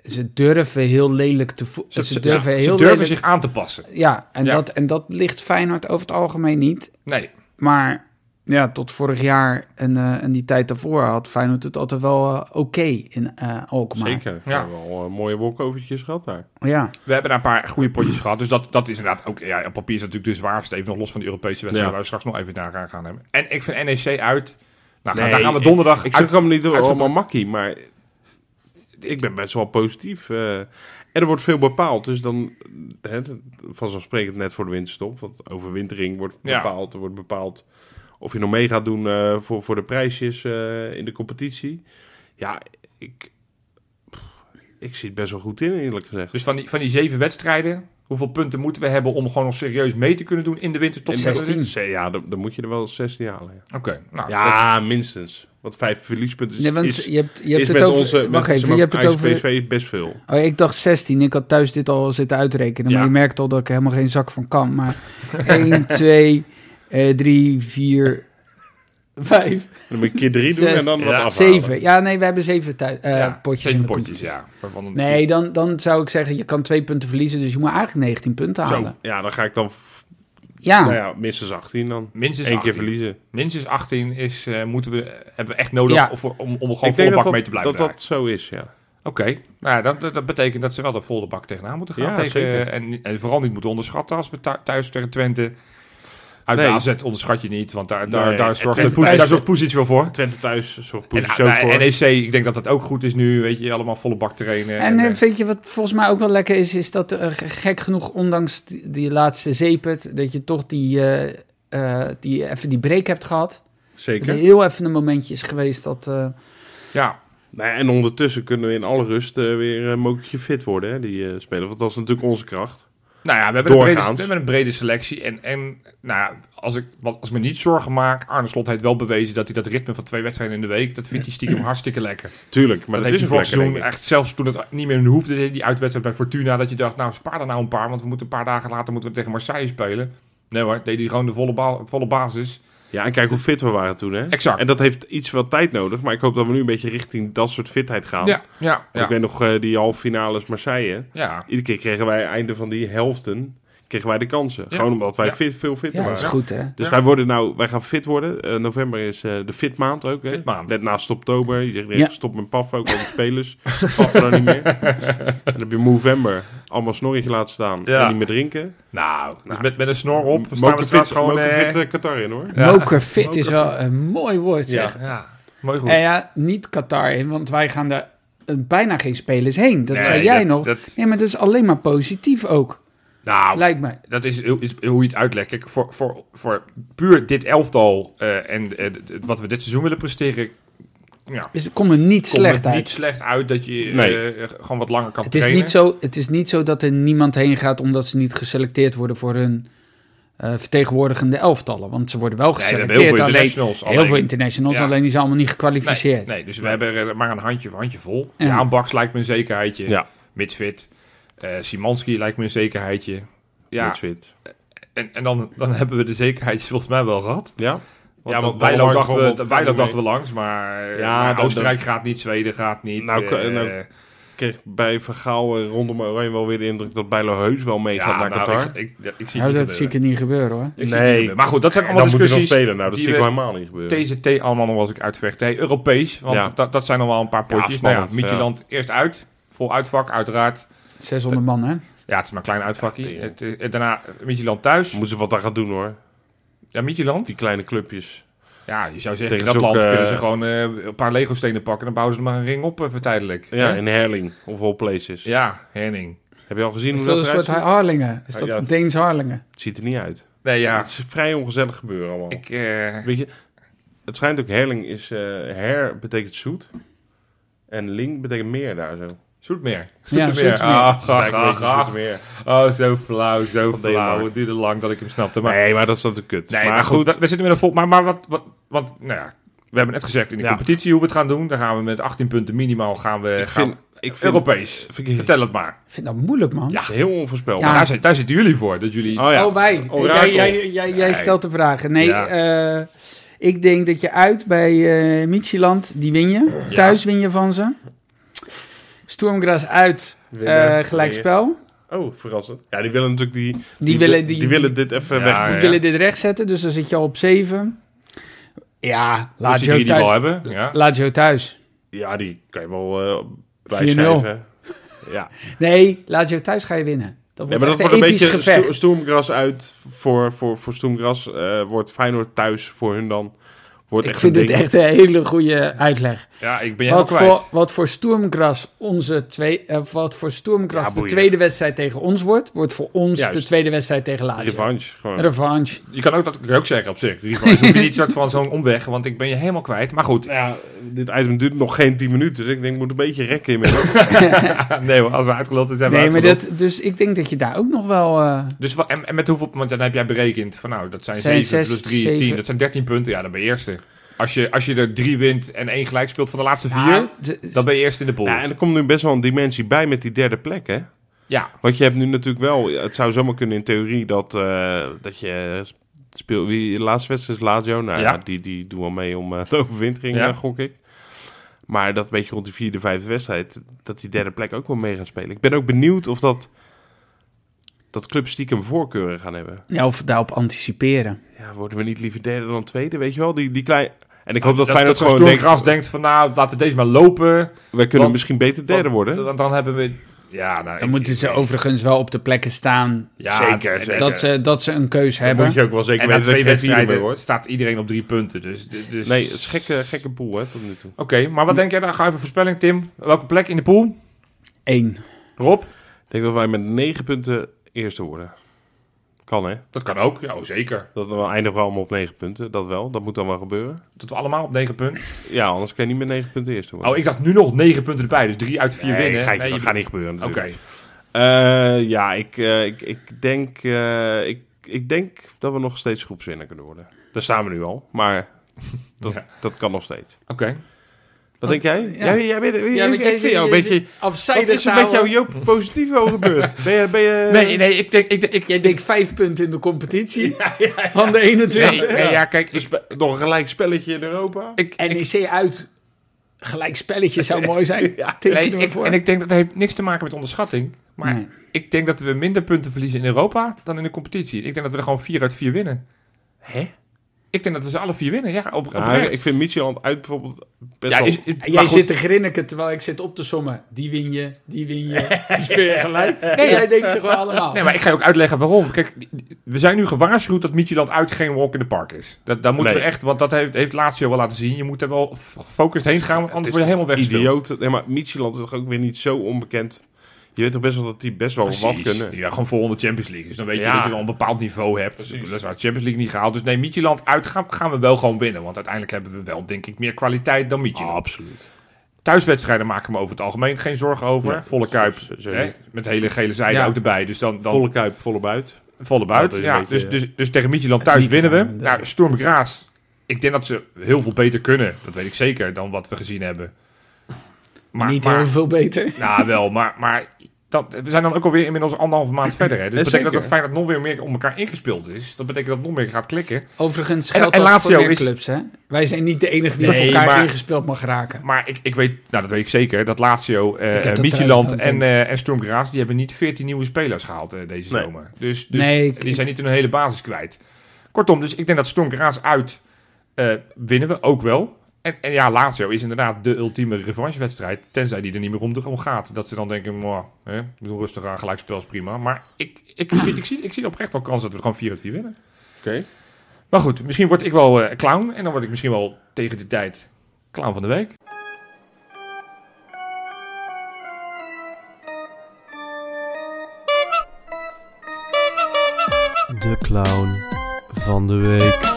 ze durven heel lelijk te voelen. Ze, durven, heel
ze durven
lelijk-
zich aan te passen.
Ja, en,
Ja.
Dat, en dat ligt Feyenoord over het algemeen niet.
Nee,
Maar ja, tot vorig jaar en, eh, en die tijd daarvoor had Feyenoord het altijd wel eh, oké in eh Alkmaar.
Zeker. We
Ja.
hebben wel eh, mooie walkovertjes gehad daar.
Ja.
we hebben daar een paar goede potjes gehad. Dus dat, dat is inderdaad ook. Ja, op papier is dat natuurlijk de zwaarste. Even nog los van de Europese wedstrijd.
Ja.
Waar we straks nog even naar gaan- gaan hebben. En ik vind NEC uit. Nou,
Nee,
daar gaan we
ik-
donderdag.
Ik
uit-
zeg hem niet door
uitgebreid-
allemaal makkie, maar ik ben best wel positief. eh. en er wordt veel bepaald, dus dan hè, vanzelfsprekend net voor de winterstop. Want overwintering wordt
Ja.
bepaald, er wordt bepaald of je nog mee gaat doen eh, voor, voor de prijsjes eh, in de competitie. Ja, ik, pff, ik zie het best wel goed in, eerlijk gezegd.
Dus van die, van die zeven wedstrijden, hoeveel punten moeten we hebben om gewoon nog serieus mee te kunnen doen in de winter tot
En-
16.
Ja, dan, dan moet je er wel 16 halen. Ja,
Oké, nou, dat-
ja minstens. Want vijf verliespunten is,
Nee, want
Dus is,
je hebt, je
is
hebt
met
het over...
onze met
wacht even,
zeg
je hebt
maar,
het over...
PSV best veel.
Oh, ik dacht 16. Ik had thuis dit al zitten uitrekenen. Maar
Ja.
je merkt al dat ik er helemaal geen zak van kan. Maar eh, 1, 2, 3, 4, 5,
Dan moet je keer drie doen
Zes.
en dan wat
Ja.
afhalen.
7. Ja, nee, we hebben 7 thuis, eh,
ja,
potjes.
zeven
in de
potjes,
competitie.
ja. Waarvan een-
Nee, dan, dan zou ik zeggen, je kan twee punten verliezen. Dus je moet eigenlijk 19 punten
Zo.
halen.
Ja, dan ga ik dan f-
Ja,
nou ja, minstens 18 dan.
Minstens
Eén
18.
keer verliezen.
Minstens 18 is, eh, moeten we, hebben we echt nodig
Ja.
om, om, om gewoon volle bak
dat,
mee te blijven
dat, dat zo
draaien.
is, ja.
Oké, nou ja, dat, dat, dat betekent dat ze wel de volle bak tegenaan moeten gaan.
Ja,
tegen,
zeker.
en, en vooral niet moeten onderschatten als we thu- thuis tegen Twente... Uit
Nee.
de AZ onderschat je niet, want daar, daar,
Nee,
daar
en
zorgt
Twente
Poes-
thuis-
daar zorgt Poesic wel voor.
Twente thuis, zorgt
En,
positie ook
nou,
voor.
NEC, ik denk dat dat ook goed is nu. Weet je, allemaal volle bak trainen.
En
eh,
eh, vind je wat volgens mij ook wel lekker is, is dat eh, g- gek genoeg, ondanks die, die laatste zeepert, dat je toch die, eh, eh, die, even die break hebt gehad. Dat er
Zeker.
heel even een momentje is geweest dat... eh,
ja,
Nou, ja, en ondertussen kunnen we in alle rust eh, weer een mokertje fit worden, hè, die eh spelen. Want dat is natuurlijk onze kracht.
Nou ja, we hebben, een brede,
Doorgaans.
we hebben een brede selectie. En, en nou ja, als ik, wat, als ik me niet zorgen maak, Arne Slot heeft wel bewezen dat hij dat ritme van twee wedstrijden in de week, dat vindt hij stiekem hartstikke lekker.
Tuurlijk, maar
dat,
dat,
heeft hij
is ook lekker,
vorig seizoen,
denk ik.
echt, zelfs toen het niet meer hoefde, die uitwedstrijd bij Fortuna, dat je dacht, nou spaar er nou een paar, want we moeten een paar dagen later moeten we tegen Marseille spelen. Nee hoor, deed hij gewoon de volle, ba- volle basis.
Ja, en kijk hoe fit we waren toen, hè?
Exact.
En dat heeft iets wel tijd nodig, maar ik hoop dat we nu een beetje richting dat soort fitheid gaan.
Ja, ja,
Want Oh. Ik
ja.
weet nog eh, die halve finales Marseille.
ja.
Iedere keer kregen wij einde van die helften kregen wij de kansen.
Ja.
Gewoon omdat wij
Ja.
fit, veel fitter
Ja, dat is
waren.
goed, hè?
Dus
Ja.
wij worden nou, wij gaan fit worden. Eh, november is eh, de fitmaand ook. Hè?
Fitmaand.
Net naast oktober. Je zegt
Ja.
even stop met paf ook, want de spelers paffen dan niet meer. En dan heb je Movember. Allemaal snorretje laten staan
Ja.
en niet meer drinken.
Nou, dus met, met een snor op staan we
Moker fit,
straks gewoon...
moker
eh,
fit eh, Qatar in hoor.
Ja.
Mokerfit is wel een mooi woord, zeg.
Ja, mooi goed.
En ja, niet Qatar in, want wij gaan daar eh, bijna geen spelers heen. Dat
Nee,
zei jij
dat-
nog.
dat-
Nee, maar dat is alleen maar positief ook,
nou,
lijkt mij.
dat is, is hoe je het uitlegt. Kijk, voor, voor, voor puur dit elftal eh, en eh, d- d- wat we dit seizoen willen presteren... Ja,
Dus het komt er niet
komt
slecht
het
uit.
niet slecht uit dat je eh,
Nee.
eh, gewoon wat langer kan
Het is,
trainen.
niet zo, het is niet zo dat er niemand heen gaat omdat ze niet geselecteerd worden voor hun eh, vertegenwoordigende elftallen. Want ze worden wel
Nee, we
geselecteerd.
hebben heel veel
alleen,
internationals.
heel
alleen.
veel internationals,
Ja.
alleen die zijn allemaal niet
nee,
gekwalificeerd.
nee, dus we hebben er maar een handje voor handje vol.
Ja.
Ja. Baks lijkt me een zekerheidje.
Ja.
Mits fit. Eh, Simanski lijkt me een zekerheidje. Ja,
Met fit.
en, en dan, dan hebben we de zekerheidjes volgens mij wel gehad.
Ja?
Want,
Ja,
ja,
want
Weiland
Walmart
dachten we,
bijvoorbeeld gaat niet
Weiland dachten we langs, maar, eh,
Ja,
maar
dat-
Oostenrijk gaat niet, Zweden gaat niet.
Nou,
eh,
kan- nou, kreeg bij Vergaal eh, rondom Oranje wel weer de indruk dat Bijlo heus wel
ja,
meegaat naar
nou,
Qatar.
ik- ik- ja, ik zie
Nou,
het
dat
niet
zie ik er niet gebeuren hoor.
gebeuren. Ik zie het niet gebeuren. Maar goed, dat zijn
En
allemaal
dan moet je nog
discussies.
spelen. Nou, dat
die
zie ik
we-
wel helemaal niet gebeuren.
TZT allemaal nog wel eens ik uitvecht. Hey, Europees, want
Ja.
dat, dat zijn nog wel een paar potjes. nou ja,
spannend,
Midtjylland eerst uit. Vol uitvak, uiteraard.
600 man, hè?
Ja, het is maar een klein uitvakje.
tegen.
Het, eh, daarna Midtjylland thuis.
Moeten ze wat aan gaan doen hoor.
Ja, Midtjylland.
Die kleine clubjes.
Ja, je zou zeggen,
Tegen
in dat
zo'n,
land
eh,
kunnen ze gewoon eh, een paar Lego-stenen pakken... en dan bouwen ze er maar een ring op eh, voor tijdelijk.
Ja,
Hè?
in Herling of all places.
ja, Henning.
Heb je al gezien
Is
hoe
dat een
dat eruit
soort
ziet?
Harlingen? Is
Ah,
dat
ja.
een Deens Harlingen?
Het ziet er niet uit.
Nee, ja,
Het is vrij ongezellig gebeuren allemaal.
ik... eh,
Weet je, het schijnt ook Herling is... eh, her betekent zoet. En Ling betekent meer daar zo.
Zoetmeer.
Ja, Zoetmeer.
Ah, graag,
Lijkt een
graag,
beetje
graag.
zoet meer.
Oh, zo flauw, zo
Van
flauw.
Denemarken.
Het duurde lang dat ik hem snapte. Maar,
Nee, maar dat is natuurlijk kut.
nee, maar, goed, we, we zitten met een vol... Maar, maar wat, wat... Want, nou ja, we hebben net gezegd in de
Ja.
competitie hoe we het gaan doen. Dan gaan we met 18 punten minimaal gaan we...
ik
gaan,
vind, ik vind,
Europees.
vind ik-
Vertel het maar.
Ik vind dat moeilijk, man.
Ja.
heel onvoorspelbaar.
Ja.
Daar, zit- daar zitten jullie voor. Dat jullie...
Oh ja.
Oh, wij. Jij,
Orakel.
jij, jij, jij
Nee.
stelt de vragen. Nee,
Ja.
eh, ik denk dat je uit bij eh Michieland, die win je. Thuis win je van ze. Stormgras uit,
Winnen.
eh gelijkspel.
Oh, verrassend. Ja, die willen natuurlijk die... Die,
willen-
wi-
die-
die, willen dit even
Ja,
weg.
ja.
Die willen dit recht zetten, dus dan zit je al op 7. Ja, laat
Als
je
jullie die wel
thuis.
hebben. Ja.
Laat je thuis.
Ja, die kan je wel eh
4-0.
bijschrijven. Ja.
Nee, laat je thuis ga je winnen. Dat
ja, maar
wordt
dat
echt
wordt een
een episch
beetje
gevecht.
sto- stoomgras uit voor, voor, voor stoomgras. eh, wordt Feyenoord thuis voor hun dan. Wordt
ik
echt
vind
een
dit
ding.
echt een hele goede uitleg.
ja, ik ben jij
Wat
helemaal kwijt.
voor, wat voor Stormgras, onze twee, eh, wat voor Stormgras
Ja,
de
boeien.
tweede wedstrijd tegen ons wordt, wordt voor ons
Juist.
de tweede wedstrijd tegen Lazio.
Revanche. Gewoon.
Revanche.
Je kan ook dat kan ik ook zeggen op zich. Riva, Ik vind niet soort van zo'n omweg, want ik ben je helemaal kwijt. Maar goed.
Nou ja, dit item duurt nog geen 10 minuten. Dus ik denk, ik moet een beetje rekken inmiddels.
Nee hoor, als we uitgeluld zijn, zijn we
Nee, maar
uitgeluld.
dat, dus ik denk dat je daar ook nog wel... eh,
Dus wat, en, en met hoeveel, want dan heb jij berekend van nou, dat zijn
Zijn
7
zes,
plus 3,
zeven.
10, dat zijn 13 punten. Ja, dan ben je eerste. Als je, als je er drie wint en één gelijk speelt van de laatste vier,
nou, d-
dan ben je eerste in de pool.
ja,
Ja,
en er komt nu best wel een dimensie bij met die derde plek, hè? Want je hebt nu natuurlijk wel... Het zou zomaar kunnen in theorie dat, eh, dat je... Speel, wie, de laatste wedstrijd is Lazio. Nou ja,
Ja.
die, die doen wel mee om eh, de overwintering,
Ja.
eh, gok ik. Maar dat een beetje rond de vierde, vijfde wedstrijd... dat die derde plek ook wel mee gaat spelen. Ik ben ook benieuwd of dat... dat clubs stiekem voorkeuren gaan hebben.
ja, of daarop anticiperen.
Ja, worden we niet liever derde dan tweede, weet je wel? Die, die klein... En ik hoop Nou, dat,
dat, dat,
Feyenoord
dat
gewoon denkt...
Gras denkt van nou, laten we deze maar lopen.
Wij kunnen
Want-
misschien beter derde
want-
worden.
Want dan hebben we... Ja, nou,
Dan
ik-
moeten ze overigens wel op de plekken staan
Ja,
Zeker,
en
zeker.
dat ze, dat ze een keus
Dan moet
hebben.
je ook wel zeker
En na
weten dat
twee
je geen vierde meer
wedstrijden
wordt.
staat iedereen op drie punten. Dus, dus...
Nee, het is een gekke, gekke pool, hè, tot nu toe.
Oké, maar
Hm.
wat denk jij dan? Ga even voorspelling, Tim. Welke plek in de pool?
Eén.
Rob?
Ik denk dat wij met negen punten eerste worden. Kan, hè?
Dat kan ook. Ja, oh, zeker.
Dat we eindigen we allemaal op negen punten. Dat wel, dat moet dan wel gebeuren.
Dat we allemaal op negen punten.
Ja, anders kan je niet met negen punten eerste worden.
Oh, ik dacht nu nog negen punten erbij. Dus drie uit vier
Nee,
winnen.
ga ik-
Nee,
dat
je-
gaat niet gebeuren
Oké.
natuurlijk. Eh, ja, ik, eh, ik, ik, denk, eh, ik, ik denk dat we nog steeds groepswinnaar kunnen worden. Daar staan we nu al, maar dat,
Ja.
dat kan nog steeds.
Oké.
Wat denk jij?
ja.
Jij, jij bent,
Ja,
ik,
maar jij-
ik vind jou een
jij
beetje...
zit
Wat
Afzijdig
is er met jouw
gehouden.
Joop Positivo gebeurd? Ben je... Ben je
Eh.
Nee, nee, ik denk... Ik, denk- ik,
Jij
ik-
denkt vijf punten in de competitie van de 21.
nee, nee, ja, kijk, ik,
Dus Spe- Nog een gelijk spelletje in Europa?
ik, ik,
NEC uit. Gelijk spelletje zou mooi zijn. Teken
nee,
je me
ik-
voor.
en ik denk dat dat heeft niks te maken met onderschatting. Maar
Nee.
ik denk dat we minder punten verliezen in Europa dan in de competitie. Ik denk dat we er gewoon vier uit vier winnen.
Hè?
Ik denk dat we ze alle vier winnen, ja, op,
Ja,
oprecht.
ik vind Micheland uit bijvoorbeeld best
Ja,
wel...
is, is- maar
En jij
goed.
zit te grinniken terwijl ik zit op te sommen. Die win je, die win je. Die is weer gelijk.
Nee,
jij denkt ze gewoon allemaal.
Oh.
Nee, maar ik ga je ook uitleggen waarom. Kijk, we zijn nu gewaarschuwd dat Micheland uit geen walk in the park is. Dat, daar moeten
Nee.
we echt, want dat heeft, heeft Lazio wel laten zien. Je moet er wel f- gefocust heen gaan, want
Het
anders word je
is
helemaal
toch
weggespeeld.
Idioot. Nee, maar Micheland is toch ook weer niet zo onbekend. Je weet toch best wel dat die best wel
Precies.
wat kunnen.
Ja, gewoon volgende Champions League. Dus dan weet je
Ja.
dat je wel een bepaald niveau hebt.
Precies.
Dat is waar Champions League niet gehaald. Dus nee, Micheland uit gaan, gaan we wel gewoon winnen. Want uiteindelijk hebben we wel, denk ik, meer kwaliteit dan Micheland.
absoluut.
Thuiswedstrijden maken me over het algemeen geen zorgen over.
Nee,
volle kuip.
zo- zo
hè?
niet.
Met hele gele zijde
Ja.
ook erbij. Dus dan, dan
Volle kuip, volle buit.
Volle buit.
Dat is een
Ja,
beetje,
dus,
eh,
dus, dus tegen Midtjylland thuis
niet
winnen we.
gedaan,
Nou, Storm Graas. Ik denk dat ze heel veel beter kunnen. Dat weet ik zeker dan wat we gezien hebben. Maar,
Niet
maar,
heel veel beter.
Nou, wel. Maar, maar dat, we zijn dan ook alweer inmiddels anderhalve maand verder. Hè. Dus dat
Ja,
betekent dat het
zeker.
feit dat nog weer meer op elkaar ingespeeld is. Dat betekent dat het nog meer gaat klikken.
Overigens
En-
geldt
en
dat
Lazio
voor meer
is-
clubs. Hè? Wij zijn niet de enige die
Nee,
op elkaar
maar-
ingespeeld mag raken.
Maar ik, ik weet, nou dat weet ik zeker, dat Lazio, eh,
heb
eh,
dat
Midtjylland
thuis
en,
ook,
eh en Storm Graas... die hebben niet 14 nieuwe spelers gehaald eh, deze
Nee.
zomer. Dus, dus
Nee, ik-
die zijn niet hun hele basis kwijt. Kortom, dus ik denk dat Storm Graas uit eh, winnen we ook wel. En, en ja, Lazio is inderdaad de ultieme revanchewedstrijd... tenzij die er niet meer om, om gaat. Dat ze dan denken, "Mwah, hè, we doen rustig aan, gelijkspel is prima. Maar ik, ik, ik, zie- ik, zie, ik zie oprecht wel kans dat we gewoon 4 uit 4 winnen.
Oké.
Maar goed, misschien word ik wel eh, clown... en dan word ik misschien wel tegen de tijd clown van de week.
De clown van de week.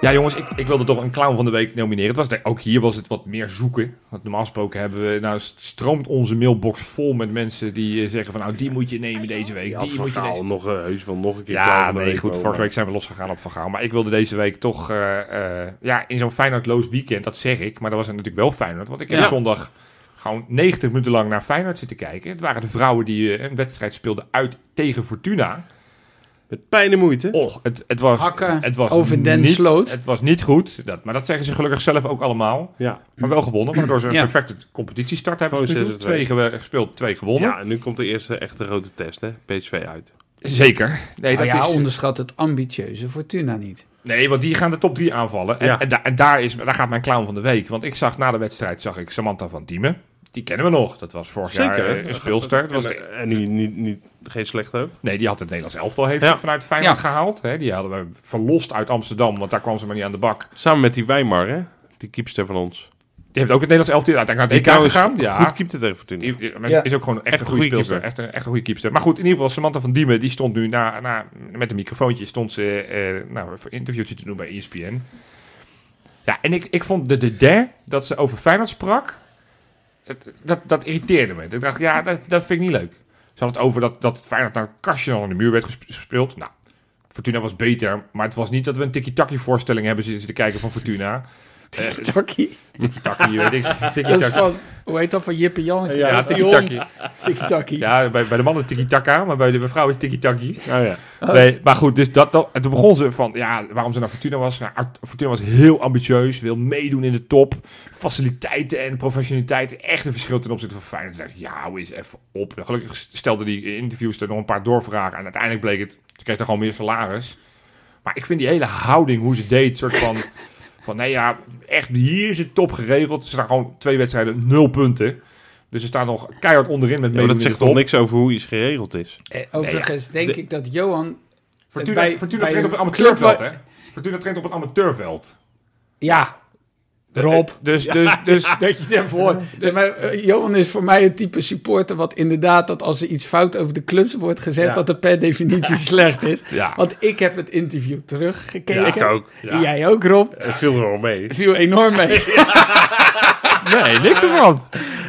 Ja, jongens, ik, ik wilde toch een clown van de week nomineren. Het was, de- ook hier was het wat meer zoeken. Want normaal gesproken hebben we. Nou, st- stroomt onze mailbox vol met mensen die eh, zeggen: van nou, die moet je nemen deze week.
Ja,
die moet je deze...
nog eh, heus wel nog een keer. klaar
Ja,
van de
nee,
week
goed.
wel,
Vorige
maar-
week zijn we losgegaan op Van Gaal. Maar ik wilde deze week toch. eh, eh, ja, in zo'n Feyenoordloos weekend, dat zeg ik. Maar dat was natuurlijk wel Feyenoord. Want ik heb
Ja.
zondag gewoon 90 minuten lang naar Feyenoord zitten kijken. Het waren de vrouwen die eh, een wedstrijd speelden uit tegen Fortuna.
Met pijn en moeite.
Och, het, het was.
Hakken
het was
over Den
niet,
Sloot.
Het was niet goed. Dat, maar dat zeggen ze gelukkig zelf ook allemaal.
Ja.
Maar wel gewonnen, waardoor ze een
Ja.
perfecte competitiestart hebben.
Gewoon
tot nu toe.
6-2.
Twee ge- gespeeld, twee gewonnen.
eh. ja, en nu komt de eerste echte grote test, hè? PSV uit.
Zeker. Nee,
Nou
dat
ja,
is,
onderschat het ambitieuze Fortuna niet.
nee, want die gaan de top drie aanvallen. En,
Ja.
en, da- en daar, is, daar gaat mijn clown van de week. Want ik zag na de wedstrijd zag ik Samantha van Diemen. Die kennen we nog. Dat was vorig jaar eh, een speelster. Dat was de-
En, en nu niet, niet, geen slechte ook.
nee, die had het Nederlands elftal heeft ze
Ja.
vanuit Feyenoord
Ja.
gehaald. Hè, die hadden we verlost uit Amsterdam, want daar kwam ze maar niet aan de bak.
Samen met die Weimar, hè? Die keepster van ons.
Die heeft ook het Nederlands elftal uiteindelijk naar het EK
trouwens
gegaan.
goed keepte tegen Fortuna.
Die, die- maar
Ja.
is ook gewoon
Echt
echt, een
een
goede
goede
speelster. Echt een, echt een goede keepster. Maar goed, in ieder geval, Samantha van Diemen, die stond nu na, na, met een microfoontje, stond ze eh nou, voor een interviewtje te doen bij E ESPN. Ja, en ik, ik vond de derde dat ze over Feyenoord sprak, het- dat, dat irriteerde me. Ik dacht, ja, dat, dat vind ik niet leuk. Ze had het over dat, dat Feyenoord naar een kastje aan de muur werd gesp- gespeeld. Nou, Fortuna was beter, maar het was niet dat we een tiki-taki voorstelling hebben zitten te kijken van Fortuna.
Tikkie-takkie.
Tiki-taki, weet ik.
Dat is
Tiki-taki.
van, hoe heet dat, van Jip en Janneke?
Ja,
Ja,
Van die
tiki-taki.
hond. Tikkie-takkie.
Ja, bij, bij de mannen is tiki-taka, maar bij de vrouwen is tiki-taki.
Oh ja.
Nee, maar goed, dus dat, dat, en toen begon ze van, ja, waarom ze naar Fortuna was. Nou, Art- Fortuna was heel ambitieus, wil meedoen in de top. Faciliteiten en professionaliteit, echt een verschil ten opzichte van Feyenoord. Toen dacht ik, ja, hou eens even op. En gelukkig stelde die interviews er nog een paar doorvragen. En uiteindelijk bleek het, ze kreeg er gewoon meer salaris. Maar ik vind die hele houding, hoe ze deed, soort van... van, nee ja, echt, hier is het top geregeld. Ze staan gewoon twee wedstrijden, nul punten. Dus ze staan nog keihard onderin met
Ja, maar
meedoen
dat
in de
zegt toch
top.
niks over hoe iets geregeld is.
Eh, Overigens denk ik dat Johan... eh,
Fortuna,
bij-
Fortuna
bij
traint op een
een
amateurveld, hè?
club
Fortuna traint op een amateurveld.
Ja, Rob.
Dus, dus, dus...
Dat je daarvoor. Nee, maar eh, Johan is voor mij het type supporter wat inderdaad dat als er iets fout over de clubs wordt gezegd,
Ja.
dat het per definitie slecht is.
Ja.
Want ik heb het interview teruggekeken.
Ja, ik ook.
Ja.
Jij ook, Rob.
Het viel er wel mee.
Het viel enorm mee.
Nee, niks
Eh,
ervan.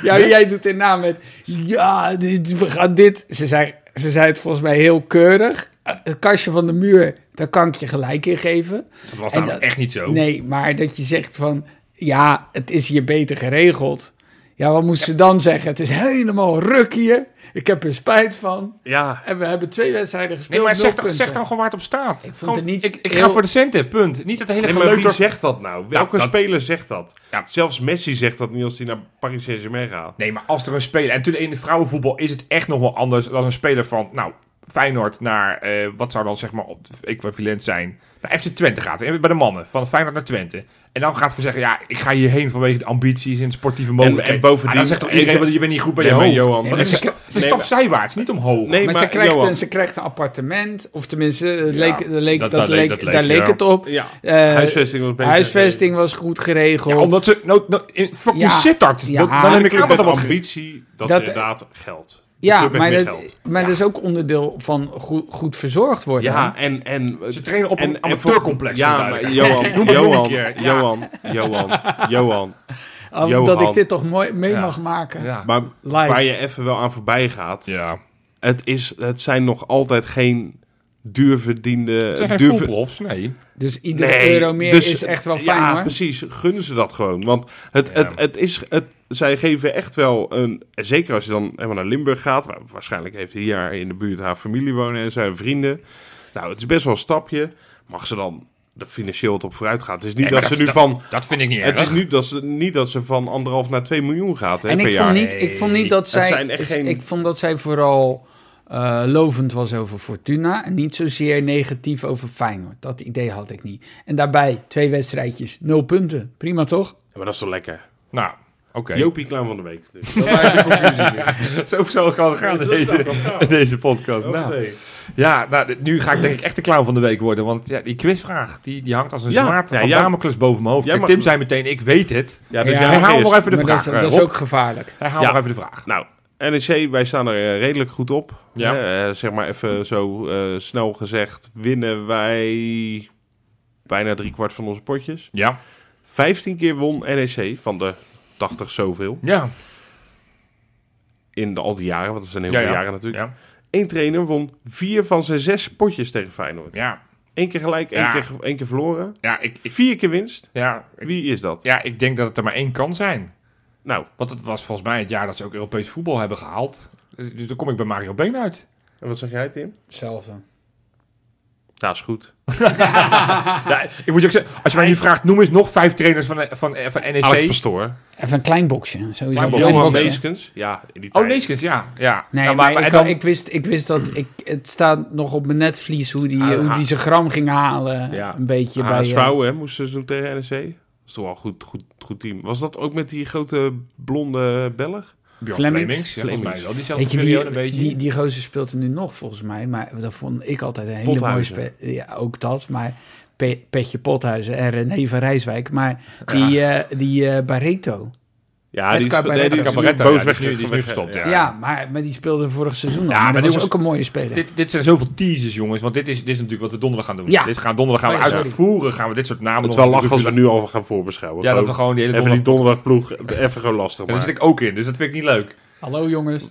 Ja, jij doet erna met. Ja, dit, we gaan dit. Ze zei, ze zei het volgens mij heel keurig. Eh, Een kastje van de muur Daar kan ik je gelijk in geven.
Dat was
En
namelijk
dat-
echt niet zo.
Nee, maar dat je zegt van... Ja, het is hier beter geregeld. Ja, wat moest ze dan zeggen? Het is helemaal ruk hier. Ik heb er spijt van.
Ja,
En we hebben twee wedstrijden gespeeld.
Nee, maar zeg,
nul
dan,
punten.
zeg dan gewoon waar het op staat. Ik,
vond het niet
ik, ik
heel-
ga voor de centen, punt. Niet dat hele
nee, maar
geleuter-
wie zegt dat nou? Welke
dat-
speler zegt dat?
Ja.
Zelfs Messi zegt dat niet als hij naar Paris Saint-Germain gaat.
Nee, maar als er een speler... En natuurlijk in de vrouwenvoetbal is het echt nog wel anders dan een speler van... Nou, Feyenoord naar... eh, wat zou dan zeg maar op equivalent zijn? Naar FC Twente gaat. En Bij de mannen. Van Feyenoord naar Twente. En dan gaat ze zeggen... Ja, ik ga hierheen vanwege de ambities en de sportieve mogelijkheden.
en bovendien-
Ah, dan zegt toch iedereen...
even-
want Je bent niet goed bij
Nee,
je
maar
hoofd.
Johan,
Het
Nee, maar
is,
ze-
het is een
nee,
stap
maar-
zijwaarts, niet omhoog.
Nee,
maar,
maar
ze, krijgt,
Johan.
een- ze krijgt een appartement. Of tenminste, het
Ja,
leek, er leek,
dat-
dat,
dat leek-
leek,
dat leek,
daar leek
ja.
het op.
Ja,
Eh,
huisvesting was beter.
huisvesting was goed geregeld.
Ja, omdat ze... Nou, nou, in fucking
Ja.
Sittard.
Ja.
Dat- dan
Dan
heb ik aan
Eh, met
dat wat ge-
ambitie, dat,
Dat-
inderdaad geldt. De
Ja,
club heeft
maar,
meer
dat,
geld.
maar dat is ook onderdeel van goed, goed verzorgd worden.
Ja, en... en
Ze trainen op
en-
een
en volgens-
amateurcomplex. voor
Ja, maar
duidelijkheid.
Johan,
Noem het nog een
Johan,
keer, ja.
Johan, Johan, Johan.
hè? Omdat
Johan.
ik dit toch mooi mee
Ja.
mag maken.
Ja.
Maar waar
Live.
je even wel aan voorbij gaat...
Ja.
Het, is, het zijn nog altijd geen duurverdiende...
Het zijn geen
duur-
voetprofs, nee.
Dus iedere
Nee,
euro meer
dus-
is echt wel fijn
ja,
hoor.
precies. Gunnen ze dat gewoon. Want het,
Ja.
het, het is, het, zij geven echt wel een... en Zeker als je dan helemaal naar Limburg gaat. waar- waarschijnlijk heeft hij hier in de buurt haar familie wonen en zijn vrienden. Nou, het is best wel een stapje. Mag ze dan er financieel op vooruit gaan? Het is niet
Nee, maar
dat, ze nu van...
Dat vind ik niet
Het is
erg.
nu dat ze, niet dat ze van anderhalf naar 2 miljoen gaat hè,
En
per
ik vond,
jaar.
niet, ik vond niet dat zij.
zijn echt geen-
Ik vond dat zij vooral eh, lovend was over Fortuna. En niet zozeer negatief over Feyenoord. Dat idee had ik niet. En daarbij twee wedstrijdjes, nul punten. Prima toch?
Ja, maar dat is toch lekker.
Nou, oké.
Jopie Clown van de Week. Dus.
Nou.
Zo zou ik al gaan in deze, in deze podcast. Nou,
Nou.
ja, nou, dit- nu ga ik denk ik echt de clown van de week worden. Want ja, die quizvraag, die, die hangt als een
Ja,
zwaard
ja,
van
jij-
Damocles boven mijn hoofd.
jij
Kijk,
mag-
Tim zei meteen, ik weet het.
Ja, dus
Ja,
jij mag
Herhaal
eerst.
nog even de
Maar
vraag,
dat, is- dat
eh,
is
Rob.
ook gevaarlijk.
Herhaal
Ja.
nog even de vraag.
Nou, NEC, wij staan er eh, redelijk goed op.
Ja.
Ja. zeg maar even zo eh, snel gezegd, winnen wij bijna driekwart van onze potjes.
Ja.
15 keer won NEC van de 80 zoveel
Ja.
in de, al die jaren, want dat zijn heel
Ja,
veel
ja.
jaren natuurlijk.
Ja.
Eén trainer won vier van zijn zes potjes tegen Feyenoord.
Ja.
Eén keer gelijk, één,
Ja.
keer, ge- één keer verloren.
Ja, ik, ik,
Vier keer winst.
ja, ik,
Wie is dat?
ja, ik denk dat het er maar één kan zijn.
Nou,
Want het was volgens mij het jaar dat ze ook Europees voetbal hebben gehaald. Dus dus dan kom ik bij Mario Been uit.
en wat zeg jij Tim?
Hetzelfde.
Ja, is goed.
Ja, ik moet je ook zeggen, als je mij nu vraagt, noem eens nog vijf trainers van, van, van E NEC.
Alex Pastoor.
Even een klein boxje. Sowieso een
Klein
klein
Johan
boxje.
Meeskens. Ja, in die
Oh,
tijd.
Neeskens, ja. ja.
Nee,
Ja,
maar, ik,
en dan-
ik, wist, ik wist dat... Ik, het staat nog op mijn netvlies hoe die,
Ah,
hoe die zijn gram ging halen.
Ja. Ah,
Een beetje bij...
HSV,
eh,
hè, moesten ze doen tegen NEC. Dat is toch wel een goed, goed, goed team. Was dat ook met die grote blonde Belg?
Bjorn
Flemings.
Flemings, ja, volgens
Flemings.
mij wel. Diezelfde
Weet je,
periode een
die,
beetje.
die, die gozer speelt er nu nog volgens mij. Maar dat vond ik altijd een hele mooie
Pothuizen.
speler. Ja, ook dat. Maar Pe- Petje Pothuizen en René van Rijswijk. Maar die, eh, die eh, Barreto.
Ja,
Met
die is,
Cabaretto.
nee, die is nu
Cabaretto,
boos
ja, die is
weg.
nu- die is nu
weg-
gestopt,
ja.
Ja, maar, maar die speelde vorig seizoen al.
Ja,
Ja, maar
maar
dat
dit
was
was-
ook een mooie speler.
dit, dit zijn zoveel teasers, jongens. Want dit is, dit is natuurlijk wat we donderdag gaan doen.
Ja.
Dit gaan, donderdag gaan we
Oh, ja, sorry.
uitvoeren. Gaan we dit soort namen
Het is
nog
wel lachen als
eens
we nu al gaan voorbeschouwen.
Ja, dat we
Gewoon
gewoon die hele
Even die
donderdag...
donderdagploeg even gewoon lastig
Ja, daar
maken.
zit ik ook in, dus dat vind ik niet leuk.
Hallo jongens.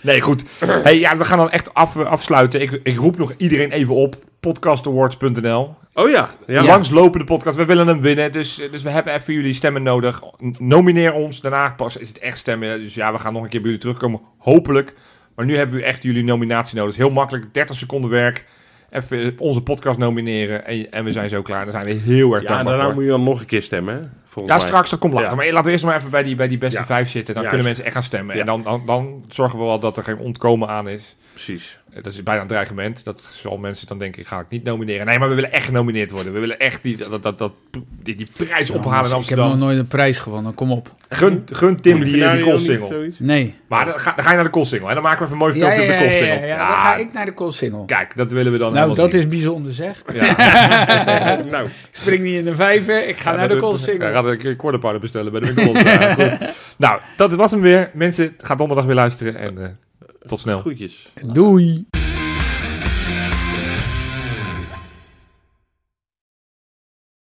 Nee, goed. Hey, ja, we gaan dan echt af, afsluiten. Ik, ik roep nog iedereen even op. Podcastawards.nl.
Oh ja, ja.
Ja. Langslopende podcast. We willen hem winnen. Dus, dus we hebben even jullie stemmen nodig. N- Nomineer ons. Daarna pas is het echt stemmen. Dus ja, we gaan nog een keer bij jullie terugkomen. Hopelijk. Maar nu hebben we echt jullie nominatie nodig. Het is heel makkelijk. 30 seconden werk. Even onze podcast nomineren. En, en we zijn zo klaar. Daar zijn we heel erg
Ja,
dankbaar
daarna
voor.
moet je dan nog een keer stemmen, hè? Volgens
Ja,
mij.
straks. Dat komt later.
Ja.
Maar laten we eerst maar even bij die, bij die beste
Ja.
vijf zitten. Dan
Juist.
kunnen mensen echt gaan stemmen.
Ja.
En dan, dan, dan zorgen we wel dat er geen ontkomen aan is.
Precies.
Eh, Dat is bijna een dreigement. Dat zal mensen dan denken, ga ik niet nomineren. Nee, maar we willen echt genomineerd worden. We willen echt die, dat, dat, dat, die, die prijs ophalen in
ik heb nog
Amsterdam.
nooit een prijs gewonnen. Kom op.
Gun, gun Tim
Moet je
die,
Ferrari
die
dan niet
single.
zoiets?
Nee.
Maar dan ga, dan ga je naar de single. En dan maken we even een mooi
Ja,
filmpje
ja,
op
ja,
de
ja,
single.
ja, ja. Dan ga ik naar de koolsingel.
Kijk, dat willen we dan
Nou,
helemaal
dat
zien.
is bijzonder zeg.
Ja.
Nou,
Ik spring niet in de vijver. Ik ga naar de
Ik
koolsingel.
ga ik een quarterpowder bestellen bij de McDonald's. Ja, goed. nou, dat was hem weer. Mensen, ga donderdag weer luisteren. En eh, tot snel.
groetjes.
Doei.